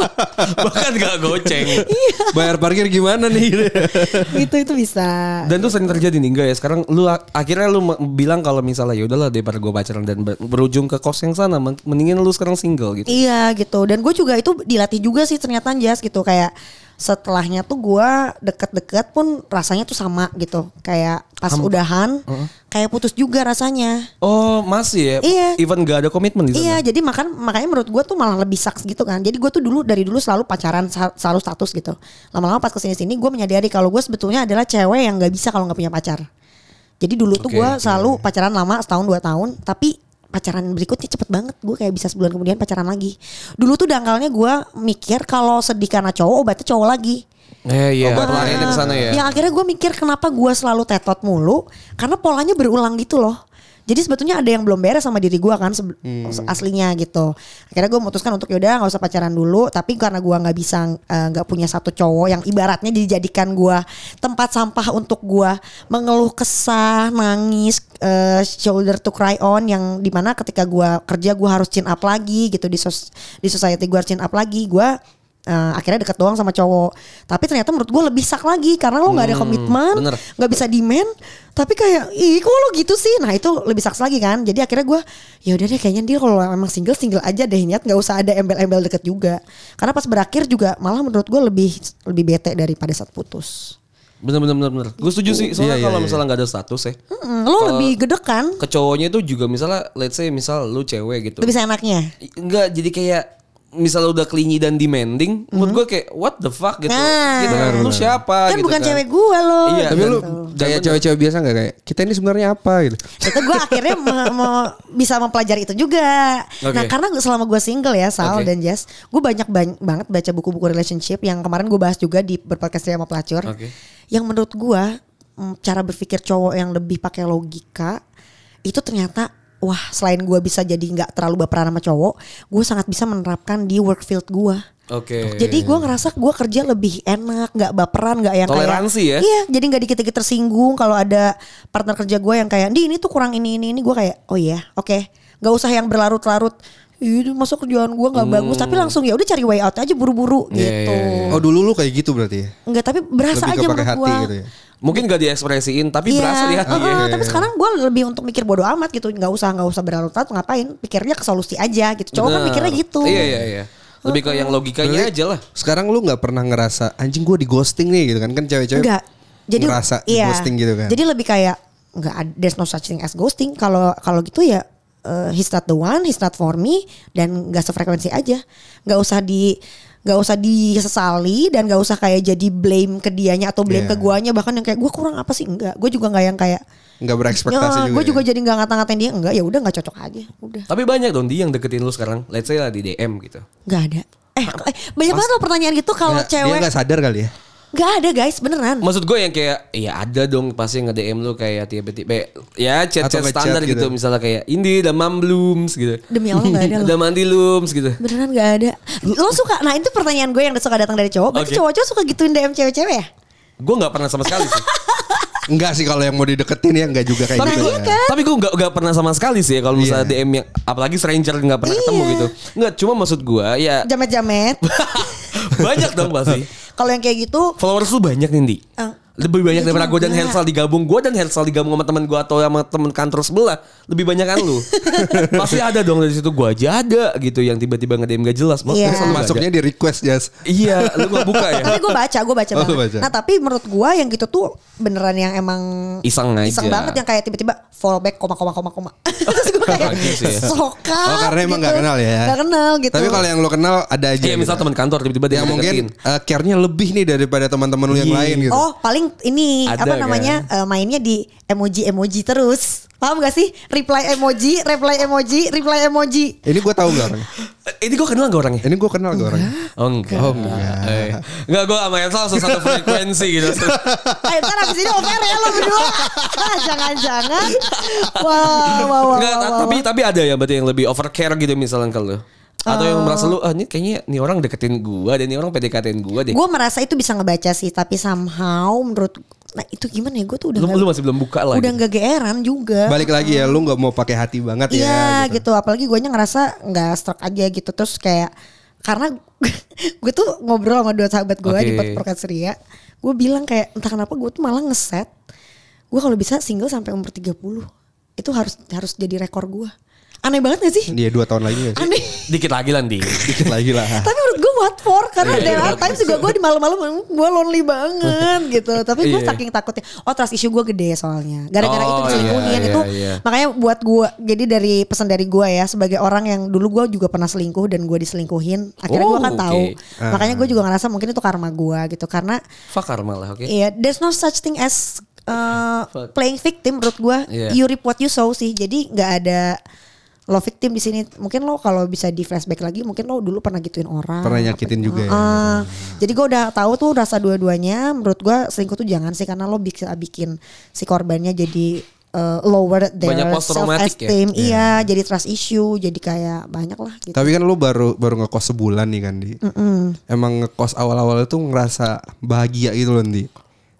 S3: <laughs>
S4: Bahkan gak goceng.
S3: Iya.
S1: Bayar parkir gimana
S3: <laughs>
S1: nih?
S3: gitu itu bisa
S4: Dan tuh sering terjadi nih enggak ya sekarang lu ak- akhirnya lu me- bilang kalau misalnya ya udahlah daripada gue pacaran dan ber- berujung ke kos yang sana men- mendingan lu sekarang single gitu.
S3: Iya gitu dan gue juga itu dilatih juga sih ternyata Jas gitu kayak setelahnya tuh gue deket-deket pun rasanya tuh sama gitu kayak pas udahan kayak putus juga rasanya
S4: Oh masih ya?
S3: Iya.
S4: Even gak ada komitmen di sana?
S3: Iya, jadi makan makanya menurut gue tuh malah lebih saks gitu kan. Jadi gue tuh dulu dari dulu selalu pacaran, sa- selalu status gitu. Lama-lama pas kesini sini gue menyadari kalau gue sebetulnya adalah cewek yang nggak bisa kalau nggak punya pacar. Jadi dulu tuh
S4: Oke,
S3: gue
S4: oke.
S3: selalu pacaran lama setahun dua tahun, tapi pacaran berikutnya cepet banget. Gue kayak bisa sebulan kemudian pacaran lagi. Dulu tuh dangkalnya gue mikir kalau sedih karena cowok obatnya cowok lagi.
S4: Eh, iya.
S1: Obat
S4: Obat larinya ke sana ya?
S3: Yang akhirnya gue mikir kenapa gue selalu tetot mulu karena polanya berulang gitu loh. Jadi sebetulnya ada yang belum beres sama diri gue kan sebe-
S4: Hmm.
S3: aslinya gitu. Akhirnya gue memutuskan untuk yaudah nggak usah pacaran dulu. Tapi karena gue nggak bisa eh, nggak punya satu cowok yang ibaratnya dijadikan gue tempat sampah untuk gue mengeluh kesah, nangis, eh, shoulder to cry on yang dimana ketika gue kerja gue harus chin up lagi gitu di sos di society gue harus chin up lagi gue Eh, akhirnya deket doang sama cowok tapi ternyata menurut gue lebih sak lagi karena lo nggak ada komitmen
S4: bener.
S3: nggak bisa demand tapi kayak ih kok lo gitu sih nah itu lebih sak lagi kan jadi akhirnya gue ya udah deh kayaknya dia kalau emang single single aja deh niat nggak usah ada embel-embel deket juga karena pas berakhir juga malah menurut gue lebih lebih bete daripada saat putus
S4: Bener bener bener bener. Gue setuju sih. Soalnya
S1: Iya, iya,
S4: kalau
S1: iya.
S4: misalnya gak ada status ya.
S3: Mm-mm, lo Hmm, lebih gede kan
S4: Ke cowoknya itu juga misalnya let's say misal lu cewek gitu.
S3: lebih seenaknya
S4: Enggak jadi kayak
S2: misalnya udah clingy dan demanding, menurut gue kayak what the fuck gitu.
S3: Mhm. Nah.
S2: Gitu,
S1: Benar,
S2: Lu
S1: benar.
S2: siapa
S3: kan
S2: gitu
S3: bukan cewek gue loh.
S2: Iya,
S1: Tapi lu
S3: Gitu.
S1: kayak
S2: Jangan-
S1: cewek-cewek biasa nggak kayak kita ini sebenarnya apa gitu.
S3: itu gue akhirnya me- me- bisa mempelajari itu juga.
S2: Oke.
S3: Nah karena gua- selama gue single ya Sal
S2: Oke.
S3: dan Jess, gue banyak ban- banget baca buku-buku relationship yang kemarin gue bahas juga di berpodcast sama pelacur.
S2: Oke.
S3: Yang menurut gue cara berpikir cowok yang lebih pakai logika itu ternyata wah selain gue bisa jadi nggak terlalu baperan sama cowok, gue sangat bisa menerapkan di work field gue.
S2: Oke.
S3: Jadi gue ngerasa gue kerja lebih enak, nggak baperan, nggak yang
S2: Toleransi ya?
S3: kayak, Iya, jadi nggak dikit-dikit tersinggung kalau ada partner kerja gue yang kayak, di ini tuh kurang ini ini ini, gue kayak, oh iya, oke, nggak usah yang berlarut-larut. Ih, masa kerjaan gue nggak bagus, tapi langsung ya udah cari way out aja buru-buru gitu.
S4: Iya.
S1: Oh dulu lu kayak gitu berarti ya.
S3: Nggak, tapi berasa
S1: Lebih ke
S3: aja
S1: pakai
S3: menurut
S1: hati
S3: gue.
S1: gitu ya.
S2: Mungkin gak diekspresiin tapi
S3: Iya,
S2: berasa di hati ya.
S3: heeh, tapi sekarang gue lebih untuk mikir bodo amat gitu, nggak usah nggak usah berlarut-larut, ngapain? Pikirnya ke solusi aja gitu. Cowok kan
S2: Benar.
S3: mikirnya gitu.
S2: Iya iya iya. Lebih ke yang logikanya
S1: Berarti
S2: aja lah.
S1: Sekarang lu nggak pernah ngerasa anjing gue di ghosting nih gitu kan kan cewek-cewek.
S3: Enggak. Jadi
S1: ngerasa di
S3: iya.
S1: ghosting gitu kan.
S3: Jadi lebih kayak enggak ada- there's no such thing as ghosting. Kalau kalau gitu ya eh, he's not the one, he's not for me dan enggak sefrekuensi aja. Enggak usah di nggak usah disesali dan nggak usah kayak jadi blame ke dianya atau blame
S1: Iya.
S3: ke guanya bahkan yang kayak gua kurang apa sih enggak gue juga nggak yang kayak
S1: nggak berekspektasi
S3: ya,
S1: juga.
S3: gue
S1: ya.
S3: juga jadi nggak ngata-ngatain dia enggak ya udah nggak cocok aja udah
S2: Tapi banyak dong dia yang deketin lu sekarang. Let's say lah di DM gitu.
S3: nggak ada eh, eh, banyak banget loh pertanyaan gitu kalau
S1: Nggak, Dia
S3: cewek
S1: nggak sadar kali ya.
S3: nggak ada guys beneran
S2: Maksud gue yang kayak ya ada dong pasti nge DM lu kayak tiba-tiba ya
S1: Atau
S2: chat-chat
S1: ngechat
S2: standar
S1: gitu.
S2: gitu. misalnya kayak ini udah mam belum gitu.
S3: Demi Allah, nggak
S2: <laughs>
S3: ada loh.
S2: Udah mandi belum gitu.
S3: Beneran gak ada Lo suka Nah itu pertanyaan gue yang suka datang dari cowok Berarti
S2: Oke.
S3: cowok-cowok suka gituin DM cewek-cewek ya?
S2: Gue nggak pernah sama sekali sih.
S1: Enggak sih kalau yang mau dideketin ya enggak juga <laughs> kayak
S2: tapi
S1: gitu.
S2: gue
S1: ya.
S2: tapi gue nggak nggak pernah sama sekali sih ya kalau misalnya
S1: Iya.
S2: DM yang apalagi stranger nggak pernah
S3: Iya.
S2: ketemu gitu. Nggak cuma maksud gue
S3: <laughs>
S2: ya
S1: <laughs>
S3: Jamet-jamet
S2: banyak dong pasti.
S3: Kalau yang kayak gitu
S2: Followers lu banyak nih Ndi.
S3: Eh,
S2: Lebih banyak
S3: iya
S2: daripada gue dan
S3: juga.
S2: Hensal digabung Gue dan Hensal digabung sama temen gue Atau sama temen kantor sebelah Lebih banyak kan
S3: <laughs>
S2: lu Pasti ada dong dari situ Gue aja ada gitu Yang tiba-tiba ngedem gak jelas Mas-
S3: Iya.
S2: Hensal lu nggak
S1: Masuknya di request Jas.
S2: ada. Iya Lu gak buka ya
S3: <laughs> Tapi gue baca Gue baca
S1: Oh, lu
S3: banget
S1: baca.
S3: Nah tapi menurut gue yang gitu tuh Beneran yang emang
S2: Iseng aja
S3: Iseng banget yang kayak tiba-tiba Fallback koma koma koma <laughs> koma Terus gue kayak
S2: Gitu ya.
S3: Soka
S1: Oh karena emang
S3: gitu.
S1: nggak kenal ya.
S3: Nggak kenal gitu
S1: Tapi kalau yang lu kenal ada aja.
S2: Iya misal
S1: gitu.
S2: temen kantor Tiba-tiba dia
S1: yang
S2: deketin.
S1: mungkin eh, care-nya lebih nih daripada teman-teman lu yang
S2: Iya.
S1: lain gitu.
S3: Oh paling ini
S2: Ada
S3: apa
S2: kan?
S3: namanya eh, mainnya di emoji emoji terus paham gak sih reply emoji reply emoji reply emoji
S1: Ini gue tahu nggak? orangnya?
S2: Eh, Ini gue kenal gak orangnya?
S1: Ini gue kenal gak orangnya?
S2: Oh enggak
S1: Oh, enggak.
S2: Eh, Enggak gue sama Hensal Satu frekuensi
S3: <laughs>
S2: gitu
S3: Eh ntar abis ini over ya lo berdua Ah, Jangan-jangan Wah wah wah,
S2: Enggak,
S3: wah,
S2: ta-
S3: wah,
S2: tapi
S3: wah.
S2: tapi ada yang berarti yang lebih overcare gitu misalnya kalau atau
S3: Oh.
S2: yang merasa lu ah ini kayaknya nih orang deketin gua dan nih orang PDKTin gua deh.
S3: Gue merasa itu bisa ngebaca sih Tapi somehow menurut Nah itu gimana ya Gue tuh udah
S2: lu,
S3: nggak-
S2: lu masih belum buka lah.
S3: Udah
S2: gitu.
S3: gak geeran juga
S1: Balik lagi ya, lu nggak mau pakai hati banget
S3: Iya
S1: ya?
S3: gitu. Apalagi gue ngerasa nggak struck aja gitu. Terus kayak karena <laughs> gue tuh ngobrol sama dua sahabat gue di
S2: Oke.
S3: Pod- Podcast Ria. Gue bilang kayak entah kenapa gue tuh malah ngeset. Gue kalau bisa single sampai umur 30. Itu harus harus jadi rekor gue. Aneh banget gak sih?
S1: Dia
S2: Iya
S1: dua tahun lagi nggak sih?
S3: Aneh.
S2: Dikit lagi lah nanti.
S1: Dikit lagi lah.
S3: Tapi menurut gue what for Karena
S2: Iya,
S3: there
S2: iya,
S3: are times juga gue di malam-malam Gue lonely
S2: <laughs>
S3: banget gitu Tapi gue
S2: Iya.
S3: saking takutnya Oh trust issue gue gede soalnya Gara-gara itu
S2: Oh,
S3: diselingkuhin
S2: iya,
S3: itu
S2: iya, iya.
S3: Makanya buat gue Jadi dari pesan dari gue ya Sebagai orang yang dulu gue juga pernah selingkuh Dan gue diselingkuhin Akhirnya
S2: Oh,
S3: gue kan
S2: oke. Ah.
S3: tahu Makanya gue juga ngerasa mungkin itu karma gue gitu Karena
S2: Fakar malah, oke.
S3: Iya, there's no such thing as uh, playing victim menurut gua.
S2: Iya.
S3: You reap what you sow sih. Jadi nggak ada lo victim di sini. Mungkin lo kalau bisa di flashback lagi, mungkin lo dulu pernah gituin orang.
S1: Pernah nyakitin
S3: Apa-
S1: juga ya.
S3: Ah, Jadi gua udah tahu tuh rasa dua-duanya. Menurut gua selingkuh tuh jangan sih karena lo bisa bikin si korbannya jadi uh, lower their
S2: Banyak post
S3: self
S2: traumatic ya?
S3: esteem. Iya, jadi trust issue, jadi kayak banyak lah gitu.
S1: Tapi kan lu baru baru ngekos sebulan nih kan di. Emang ngekos awal-awal itu ngerasa bahagia gitu loh di.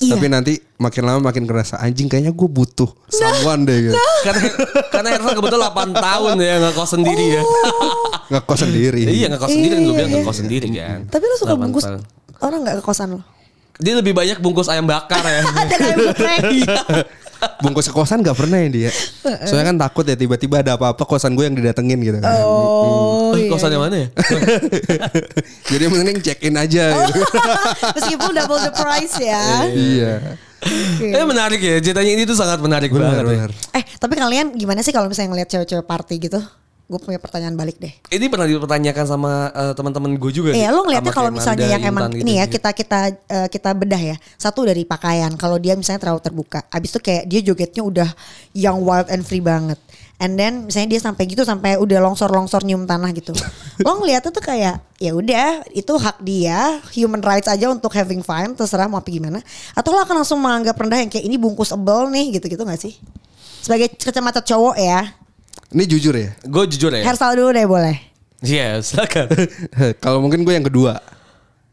S3: Iya. Nah,
S1: Tapi nanti makin lama makin ngerasa anjing kayaknya gue butuh someone deh gitu.
S2: Karena karena Ervan kebetulan 8 tahun ya ngekos sendiri ya.
S1: Ngekos sendiri.
S2: Iya ngekos sendiri
S3: Iya,
S2: gue bilang
S3: Oh. iya.
S2: ngekos sendiri kan.
S3: Tapi lo suka
S2: Delapan
S3: bungkus
S2: tahun.
S3: orang nggak ke kosan lo?
S2: Dia lebih banyak bungkus ayam bakar ya.
S3: <laughs> Ada kayak geprek.
S1: <laughs> Bungkus ke kosan gak pernah ya dia. Soalnya kan takut ya tiba-tiba ada apa-apa kosan gue yang didatengin gitu kan.
S3: Oh,
S2: Eh,
S3: iya.
S2: Kosan yang mana ya?
S1: <laughs> Jadi mending check in aja gitu.
S3: <laughs> Meskipun double the price ya.
S1: iya.
S3: Oke.
S2: Eh menarik ya, ceritanya ini tuh sangat menarik
S1: Benar
S2: banget. ya.
S1: benar.
S3: Eh tapi kalian gimana sih kalau misalnya ngeliat cewek-cewek party gitu? gue punya pertanyaan balik deh.
S2: Ini pernah dipertanyakan sama eh, teman-teman gue juga.
S3: Iya,
S2: nih.
S3: lo ngeliatnya
S2: Sama
S3: kalau
S2: kayak
S3: misalnya
S2: Nanda,
S3: yang emang
S2: Intan gitu.
S3: ini ya kita kita eh, kita bedah ya. Satu dari pakaian, kalau dia misalnya terlalu terbuka, abis itu kayak dia jogetnya udah yang wild and free banget. And then misalnya dia sampai gitu sampai udah longsor-longsor nyium tanah
S2: <laughs>
S3: gitu. lo ngeliatnya tuh kayak ya udah itu hak dia, human rights aja untuk having fun, terserah mau apa gimana. Atau lo akan langsung menganggap rendah yang kayak ini bungkus ebel nih gitu-gitu gak sih? Sebagai kacamata cowok ya,
S1: Ini jujur ya. <laughs>
S2: Gue jujur ya.
S3: hairstyle dulu deh boleh.
S2: Iya, silakan.
S1: Kalau mungkin gue yang kedua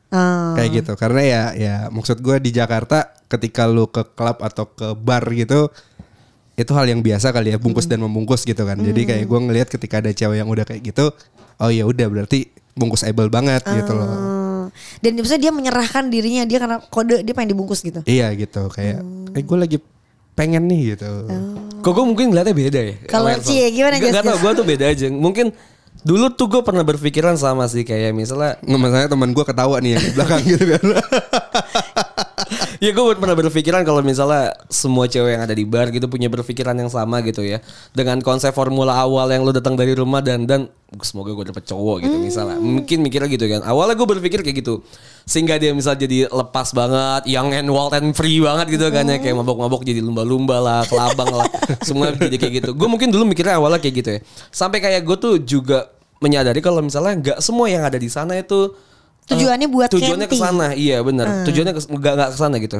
S3: Hmm.
S1: kayak gitu. Karena ya ya maksud gue di Jakarta ketika lu ke klub atau ke bar gitu itu hal yang biasa kali ya bungkus dan membungkus gitu kan. Jadi kayak gue ngelihat ketika ada cewek yang udah kayak gitu, oh ya udah berarti bungkus able banget gitu loh.
S3: Hmm. Dan maksudnya dia menyerahkan dirinya dia karena kode dia pengen dibungkus gitu.
S1: Iya gitu kayak eh gue lagi pengen nih gitu.
S2: Kok gue mungkin ngeliatnya beda ya.
S3: Oh. Kalau
S2: sama Erson.
S3: Cie, gimana,
S2: Nggak- nggak
S3: Jas?
S2: tau, gue tuh beda aja. Mungkin dulu tuh gue pernah berpikiran sama sih kayak misalnya
S1: Nggak masalahnya teman gue ketawa nih yang di belakang <laughs> gitu kan.
S2: <laughs> Ya gue pernah berpikiran kalau misalnya semua cewek yang ada di bar gitu punya berpikiran yang sama gitu ya Dengan konsep formula awal yang lo datang dari rumah dan dan semoga gue dapet cowok
S3: Hmm.
S2: gitu misalnya Mungkin mikirnya gitu kan Awalnya gue berpikir kayak gitu Sehingga dia misalnya jadi lepas banget Young and wild and free banget gitu kan ya Kayak
S3: Hmm.
S2: mabok-mabok jadi lumba-lumba lah Kelabang
S3: <laughs>
S2: lah Semua jadi kayak gitu Gue mungkin dulu mikirnya awalnya kayak gitu ya Sampai kayak gue tuh juga menyadari kalau misalnya nggak semua yang ada di sana itu eh,
S3: Tujuannya buat
S2: tujuannya
S3: camping.
S2: ke sana iya benar
S3: Hmm.
S2: tujuannya kes- nggak nggak ke sana gitu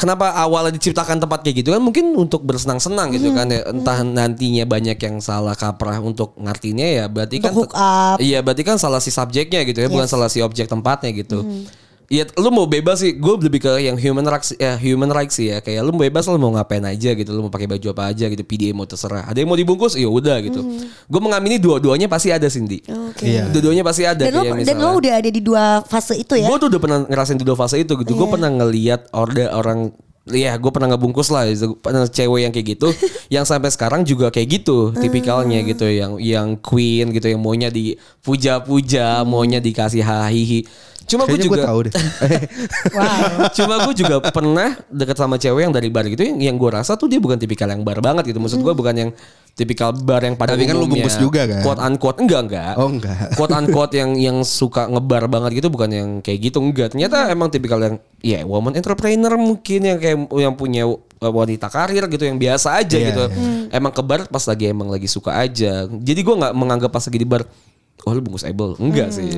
S2: kenapa awalnya diciptakan tempat kayak gitu kan mungkin untuk bersenang-senang gitu kan ya
S3: Hmm.
S2: entah nantinya banyak yang salah kaprah untuk ngartinya ya berarti
S3: Untuk
S2: kan
S3: hook up.
S2: iya berarti kan salah si subjeknya gitu ya bukan salah si objek tempatnya gitu
S3: Hmm.
S2: Iya, lu mau bebas sih. Gue lebih ke yang human rights, ya, human rights sih ya. Kayak lu bebas lu mau ngapain aja gitu. Lu mau pakai baju apa aja gitu. PDA mau terserah. Ada yang mau dibungkus, ya udah gitu. Gue mengamini dua-duanya pasti ada Cindy.
S3: Hmm. Oke.
S1: Iya.
S2: Dua-duanya pasti ada.
S3: Dan lo,
S2: kayak
S3: dan lo
S2: misalnya.
S3: udah ada di dua fase itu ya.
S2: Gue tuh udah pernah ngerasain di dua fase itu gitu.
S1: Iya.
S2: Gue pernah ngeliat order orang Iya, gue pernah ngebungkus lah, gitu. pernah cewek yang
S1: <laughs>
S2: kayak gitu, yang sampai sekarang juga kayak gitu, tipikalnya
S1: Ah.
S2: gitu, yang yang queen gitu, yang maunya dipuja-puja, maunya dikasih hahihi. Cuma gue
S1: Hmm. Kayaknya gue
S2: juga,
S1: tahu
S2: <laughs>
S1: deh. Eh,
S3: Wow.
S2: Cuma gue juga pernah deket sama cewek yang dari bar gitu yang, yang gue rasa tuh dia bukan tipikal yang bar banget gitu. Maksud gue bukan yang tipikal bar yang pada
S1: Tapi kan lu
S2: umumnya.
S1: bungkus juga kan?
S2: Quote unquote enggak enggak.
S1: Oh, enggak.
S2: Quote unquote yang yang suka ngebar banget gitu bukan yang kayak gitu enggak. Ternyata emang tipikal yang ya woman entrepreneur mungkin yang kayak yang punya wanita karir gitu yang biasa aja
S1: Iya,
S2: gitu.
S1: iya.
S2: Emang ke bar pas lagi emang lagi suka aja. Jadi gue nggak menganggap pas lagi di bar Oh lu bungkus able Enggak sih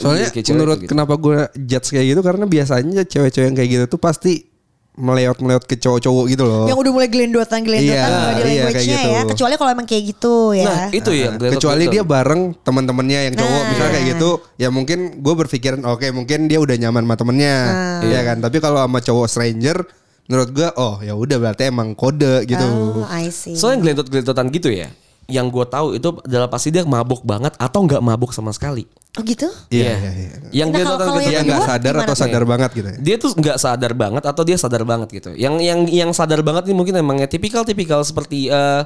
S1: Soalnya
S2: Kayak cewek
S1: menurut
S2: kayak gitu.
S1: kenapa gue judge kayak gitu karena biasanya cewek-cewek yang kayak gitu tuh pasti meleot-meleot ke cowok-cowok gitu loh.
S3: Yang udah mulai gelendotan gelendotan
S1: Iya,
S3: body
S1: iya,
S3: language-nya
S1: kayak gitu.
S3: ya. Kecuali kalau emang kayak gitu ya.
S2: Nah itu ya
S1: Nah, kecuali dia bareng teman-temannya yang
S3: Nah.
S1: cowok misalnya kayak gitu ya mungkin gue berpikiran oke mungkin dia udah nyaman sama temennya
S3: Nah.
S1: ya kan tapi kalau sama cowok stranger menurut gue oh ya udah berarti emang kode gitu
S3: Oh, I see.
S2: Soalnya gelentot-gelentotan gitu ya. Yang gue tahu itu adalah pasti dia mabuk banget atau nggak mabuk sama sekali.
S3: oh gitu?
S1: iya
S2: Iya.
S1: iya iya
S2: Yang
S3: Nah, kalau- kalau
S1: dia
S2: gelentotan-gelentotan
S3: yang
S1: nggak
S3: kedua
S1: sadar
S3: gimana
S1: atau
S3: tuh?
S1: sadar banget gitu ya.
S2: dia tuh nggak sadar banget atau dia sadar banget gitu. Yang yang yang sadar banget nih mungkin emangnya tipikal-tipikal seperti eh,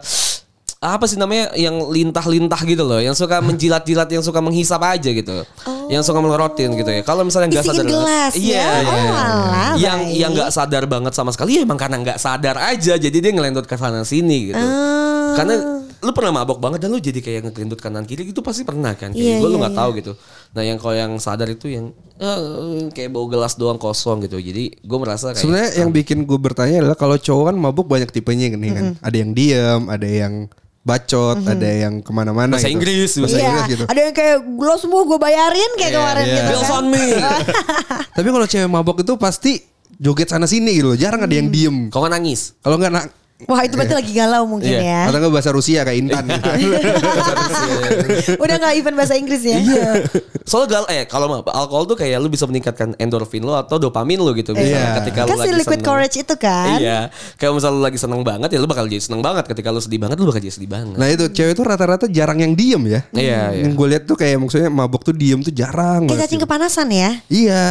S2: apa sih namanya yang lintah-lintah gitu loh, yang suka menjilat-jilat, yang suka menghisap aja gitu, yang suka melorotin gitu ya. Kalau misalnya nggak
S3: Oh. Isiin
S2: sadar, banget-
S3: gelas ya?
S2: iya,
S3: Oh,
S2: iya, iya.
S3: alah,
S2: yang
S3: baik.
S2: yang nggak sadar banget sama sekali ya emang karena nggak sadar aja, jadi dia ngelendot ke sana sini gitu.
S3: Oh.
S2: Karena lu pernah mabok banget dan lu jadi kayak ngelendot kanan kiri gitu pasti pernah kan? Kayak
S3: Iya,
S2: gue lu
S3: iya,
S2: nggak
S3: iya.
S2: tahu gitu. Nah yang kalau yang sadar itu yang eh, kayak bau gelas doang kosong gitu. Jadi gue merasa kayak
S1: Sebenarnya yang bikin gue bertanya adalah kalau cowok kan mabuk banyak tipenya nih kan. Ada yang diem, ada yang bacot, ada yang kemana-mana
S2: bahasa
S1: gitu.
S2: Inggris, bahasa
S3: Iya,
S1: Inggris gitu.
S3: ada yang kayak lo semua gue bayarin kayak kemarin
S1: iya.
S3: gitu
S2: Bills
S3: kan.
S2: on
S3: <laughs>
S2: me.
S1: Tapi kalau cewek mabuk itu pasti joget sana sini gitu loh. Jarang ada
S3: Mm.
S1: yang diem.
S2: Kau nggak nangis?
S1: Kalau nggak nak
S3: Wah itu berarti lagi galau mungkin
S2: Iya.
S3: ya.
S1: atau nggak bahasa Rusia kayak
S2: <laughs>
S1: Intan gitu.
S3: Udah gak even bahasa Inggris ya.
S1: Iya.
S2: Soalnya gal eh kalau mah alkohol tuh kayak lu bisa meningkatkan endorfin lo atau dopamin lo gitu
S1: Iya.
S2: misalnya ketika lu
S3: Kan si
S2: lagi
S3: liquid
S2: seneng.
S3: courage itu kan.
S2: Iya, kayak misalnya lu lagi seneng banget ya lu bakal jadi seneng banget. Ketika lu sedih banget lu bakal jadi sedih banget.
S1: Nah itu cewek tuh rata-rata jarang yang diem ya.
S2: Iya,
S1: Yang gue lihat tuh kayak maksudnya mabuk tuh diem tuh jarang.
S3: Kayak
S1: banget
S3: cacing
S1: gitu.
S3: kepanasan ya.
S1: Iya.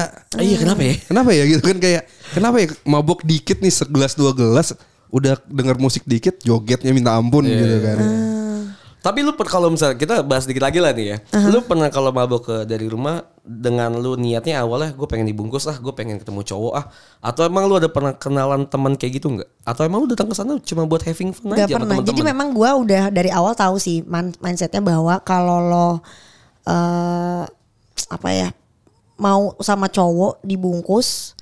S2: Eh, iya kenapa ya?
S1: Kenapa ya gitu kan kayak kenapa ya mabuk dikit nih
S2: Iya,
S1: segelas dua gelas udah denger musik dikit jogetnya minta ampun gitu kan.
S2: Tapi lu per- kalau misalnya kita bahas dikit lagi lah nih ya. Lu pernah kalau mabok ke dari rumah dengan lu niatnya awalnya gue pengen dibungkus ah, gue pengen ketemu cowok ah. Atau emang lu ada pernah kenalan teman kayak gitu nggak? Atau emang lu datang ke sana cuma buat having fun
S3: Gak
S2: aja
S3: pernah.
S2: sama ya,
S3: Jadi
S2: teman-teman?
S3: memang gua udah dari awal tahu sih man- mindsetnya bahwa kalau lo eh apa ya mau sama cowok dibungkus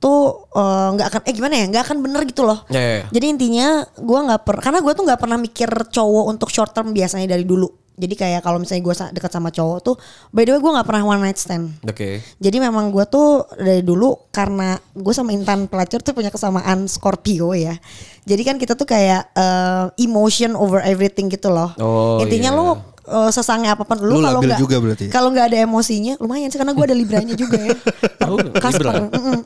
S3: tuh eh, nggak akan eh gimana ya nggak akan bener gitu loh.
S2: Ya, ya, ya.
S3: Jadi intinya gua nggak per karena gua tuh nggak pernah mikir cowok untuk short term biasanya dari dulu. Jadi kayak kalau misalnya gua sa- dekat sama cowok tuh by the way gua nggak pernah one night stand.
S2: Oke.
S3: Jadi memang gue tuh dari dulu karena gue sama Intan Pelacur tuh punya kesamaan Scorpio ya. Jadi kan kita tuh kayak eh, emotion over everything gitu loh.
S2: Oh, iya.
S3: Intinya lo eh, sesangnya apapun lu,
S1: Lu
S3: kalau
S1: labil
S3: nggak
S1: juga berarti ya?
S3: kalau nggak ada emosinya lumayan sih karena gue ada libranya juga ya.
S2: Oh, Libra.
S3: Kasper. mm-mm.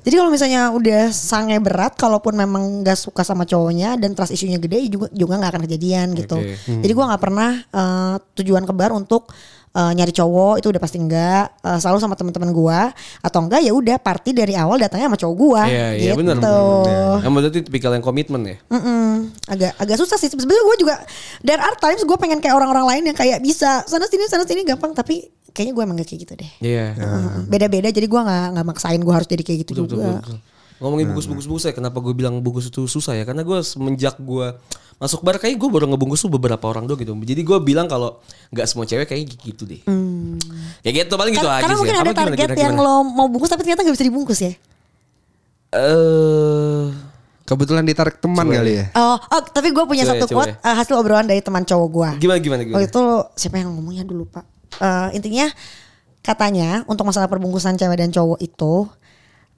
S3: Jadi kalau misalnya udah sange berat, kalaupun memang nggak suka sama cowoknya dan trust isunya gede juga juga nggak akan kejadian gitu.
S2: Oke.
S3: Jadi gua nggak pernah eh, tujuan kebar untuk eh, nyari cowok itu udah pasti enggak Eh, selalu sama teman-teman gua atau enggak ya udah party dari awal datangnya sama cowok gua
S2: Iya, iya,
S3: gitu.
S2: bener. Yang berarti tipikal yang komitmen ya.
S3: Mm-mm. agak agak susah sih sebenarnya gue juga there are times gue pengen kayak orang-orang lain yang kayak bisa sana sini sana sini gampang tapi kayaknya gue emang gak kayak gitu deh
S2: Iya.
S3: Mm-mm. beda-beda jadi gua nggak nggak maksain gue harus jadi kayak gitu
S2: Betul, betul,
S3: juga
S2: betul. Ngomongin
S1: Nah,
S2: bungkus-bungkus bungkus ya, kenapa gue bilang bungkus itu susah ya? Karena gue semenjak gue masuk bar kayaknya gue baru ngebungkus tuh beberapa orang doang gitu. Jadi gue bilang kalau nggak semua cewek kayaknya gitu deh. Kayak gitu paling gitu
S3: Hmm. Karena-
S2: aja
S3: karena
S2: sih.
S3: mungkin
S2: Apa
S3: ada
S2: gimana,
S3: target
S2: gimana,
S3: yang
S2: gimana?
S3: lo mau bungkus tapi ternyata nggak bisa dibungkus
S2: <laughs>
S3: ya.
S2: Eh,
S1: Kebetulan ditarik teman kali ya.
S3: Oh, oh tapi gue punya
S2: Coba ya,
S3: satu
S2: coba
S3: quote eh, hasil obrolan dari teman cowok gue.
S2: gimana gimana gimana?
S3: Oh itu siapa yang ngomongnya dulu pak? Eh, intinya katanya untuk masalah perbungkusan cewek dan cowok itu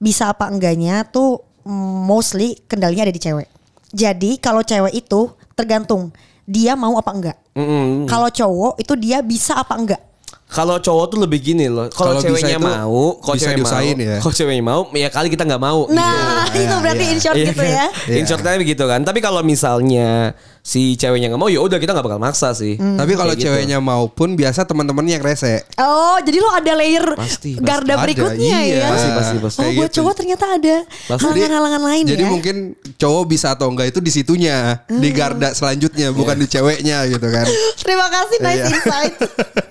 S3: bisa apa enggaknya tuh mm, mostly kendalinya ada di cewek. Jadi kalau cewek itu tergantung dia mau apa enggak.
S2: Mm-mm.
S3: Kalau cowok itu dia bisa apa enggak.
S2: Kalau cowok tuh lebih gini loh. Kalau
S1: Kalau bisa
S2: ceweknya
S1: itu
S2: mau, kalau
S1: bisa
S2: cewek
S1: diusahain
S2: mau,
S1: ya.
S2: kalau ceweknya mau, ya kali kita nggak mau. <laughs>
S3: Nah itu berarti in short
S2: Iya
S3: gitu
S2: kan?
S3: ya.
S1: Iya.
S2: <laughs> In shortnya begitu kan. Tapi kalau misalnya si ceweknya nggak mau, ya udah kita nggak bakal maksa sih.
S3: Hmm.
S1: Tapi kalau
S2: Kayak gitu.
S1: ceweknya mau pun biasa teman-temannya yang rese.
S3: Oh, jadi lo ada layer
S2: Pasti, pasti
S3: garda
S1: ada,
S3: berikutnya
S1: iya.
S3: ya.
S2: Pasti, pasti, pasti.
S3: Oh,
S1: Kayak
S3: buat
S1: gitu.
S3: cowok ternyata ada halangan-halangan lain
S1: Jadi
S3: ya. Ah.
S1: mungkin cowok bisa atau enggak itu di situnya, di garda selanjutnya
S2: Iya.
S1: bukan di ceweknya gitu
S2: <laughs>
S1: kan.
S3: <laughs> Terima kasih nice
S1: Iya.
S3: insight.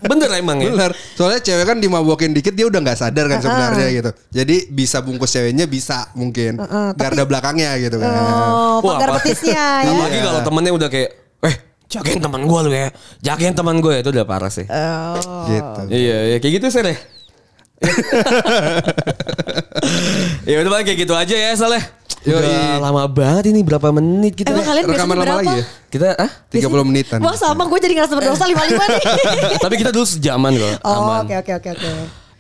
S2: Bener emang ya.
S1: Benar. Soalnya cewek kan dimabokin dikit dia udah nggak sadar
S3: Ah,
S1: kan sebenarnya gitu. Jadi bisa bungkus ceweknya bisa mungkin garda belakangnya gitu kan.
S3: Ah, Oh,
S2: Wah,
S3: pagar
S2: apa-
S3: betisnya ya.
S2: Apalagi kalau temennya udah kayak, eh jagain teman gue lu ya, jagain teman gue itu udah parah sih.
S3: Oh.
S1: Gitu.
S2: Iya, iya kayak gitu sih deh. ya udah Bang, kayak gitu aja ya Saleh. Udah
S1: Yoi.
S2: lama banget ini berapa menit kita?
S3: Emang kalian biasanya
S1: Rekaman lama
S3: berapa?
S1: lagi ya?
S2: Kita ah?
S1: 30 menitan.
S3: Wah sama gue jadi ngerasa berdosa lima-lima nih.
S2: <laughs> Tapi kita dulu sejaman kok.
S3: <laughs> oh
S2: aman.
S3: oke oke oke oke.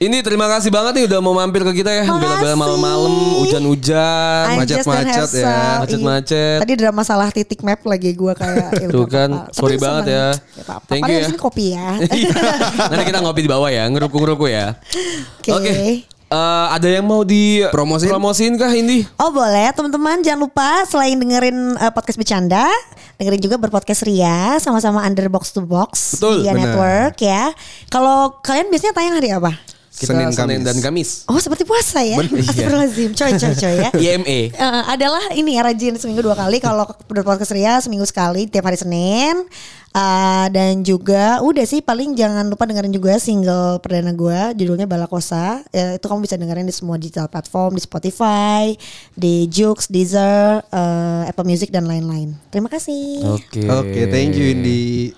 S2: Ini terima kasih banget nih udah mau mampir ke kita ya.
S3: Makasih.
S2: Bela-bela malam-malam, hujan-hujan.
S3: I'm
S1: macet-
S3: just gonna have
S1: macet ya.
S3: some-
S2: Macet-macet.
S3: Tadi ada masalah titik map lagi gue kayak. ya udah,
S2: Tuh kan,
S3: apa-apa. Tapi
S2: sorry
S3: seneng.
S2: banget ya.
S3: Gak apa-apa.
S2: Thank you
S3: Padahal
S2: ya.
S3: di sini kopi ya.
S2: Iya.
S1: <laughs>
S2: Nanti kita ngopi di bawah ya, ngeruku-ngeruku ya.
S3: Oke.
S2: Eh, ada yang mau di
S1: Promosin?
S2: Promosin kah ini?
S3: Oh boleh teman-teman jangan lupa selain dengerin eh, podcast bercanda dengerin juga berpodcast Ria sama-sama Underbox to Box
S2: Betul,
S3: Ria
S1: benar.
S3: Network ya. Kalau kalian biasanya tayang hari apa?
S2: Kita
S1: Senin, Kamis.
S2: dan Kamis.
S3: Oh seperti puasa ya?
S2: iya.
S1: Benar.
S3: Astagfirullahaladzim coy coy coy
S2: <laughs>
S3: ya.
S2: IME.
S3: Eh, adalah ini ya rajin seminggu dua kali kalau berpodcast Ria seminggu sekali tiap hari Senin Eh, dan juga udah sih paling jangan lupa dengerin juga single perdana gua judulnya Balakosa Eh, itu kamu bisa dengerin di semua digital platform di Spotify di Joox Deezer eh, Apple Music dan lain-lain terima kasih
S2: Oke.
S1: Oke, thank you Indi.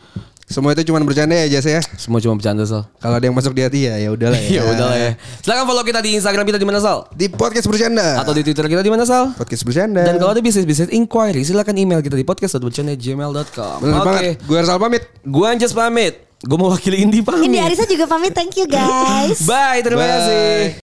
S1: Semua itu cuma bercanda ya Jas ya.
S2: Semua cuma bercanda Sal.
S1: Kalau ada yang masuk di hati ya ya udahlah ya.
S2: Ya udahlah ya. Silakan follow kita di Instagram kita di mana Sal?
S1: Di podcast bercanda.
S2: Atau di Twitter kita di mana Sal?
S1: podcast bercanda.
S2: Dan kalau ada bisnis-bisnis inquiry silakan email kita di podcast.bercanda@gmail.com.
S1: Benar banget. Gue Rizal pamit.
S2: Gua Anjas pamit. Gua mau wakili Indi pamit.
S3: Ini Arisa juga pamit thank you guys
S2: Bye, terima
S1: Bye.
S2: kasih.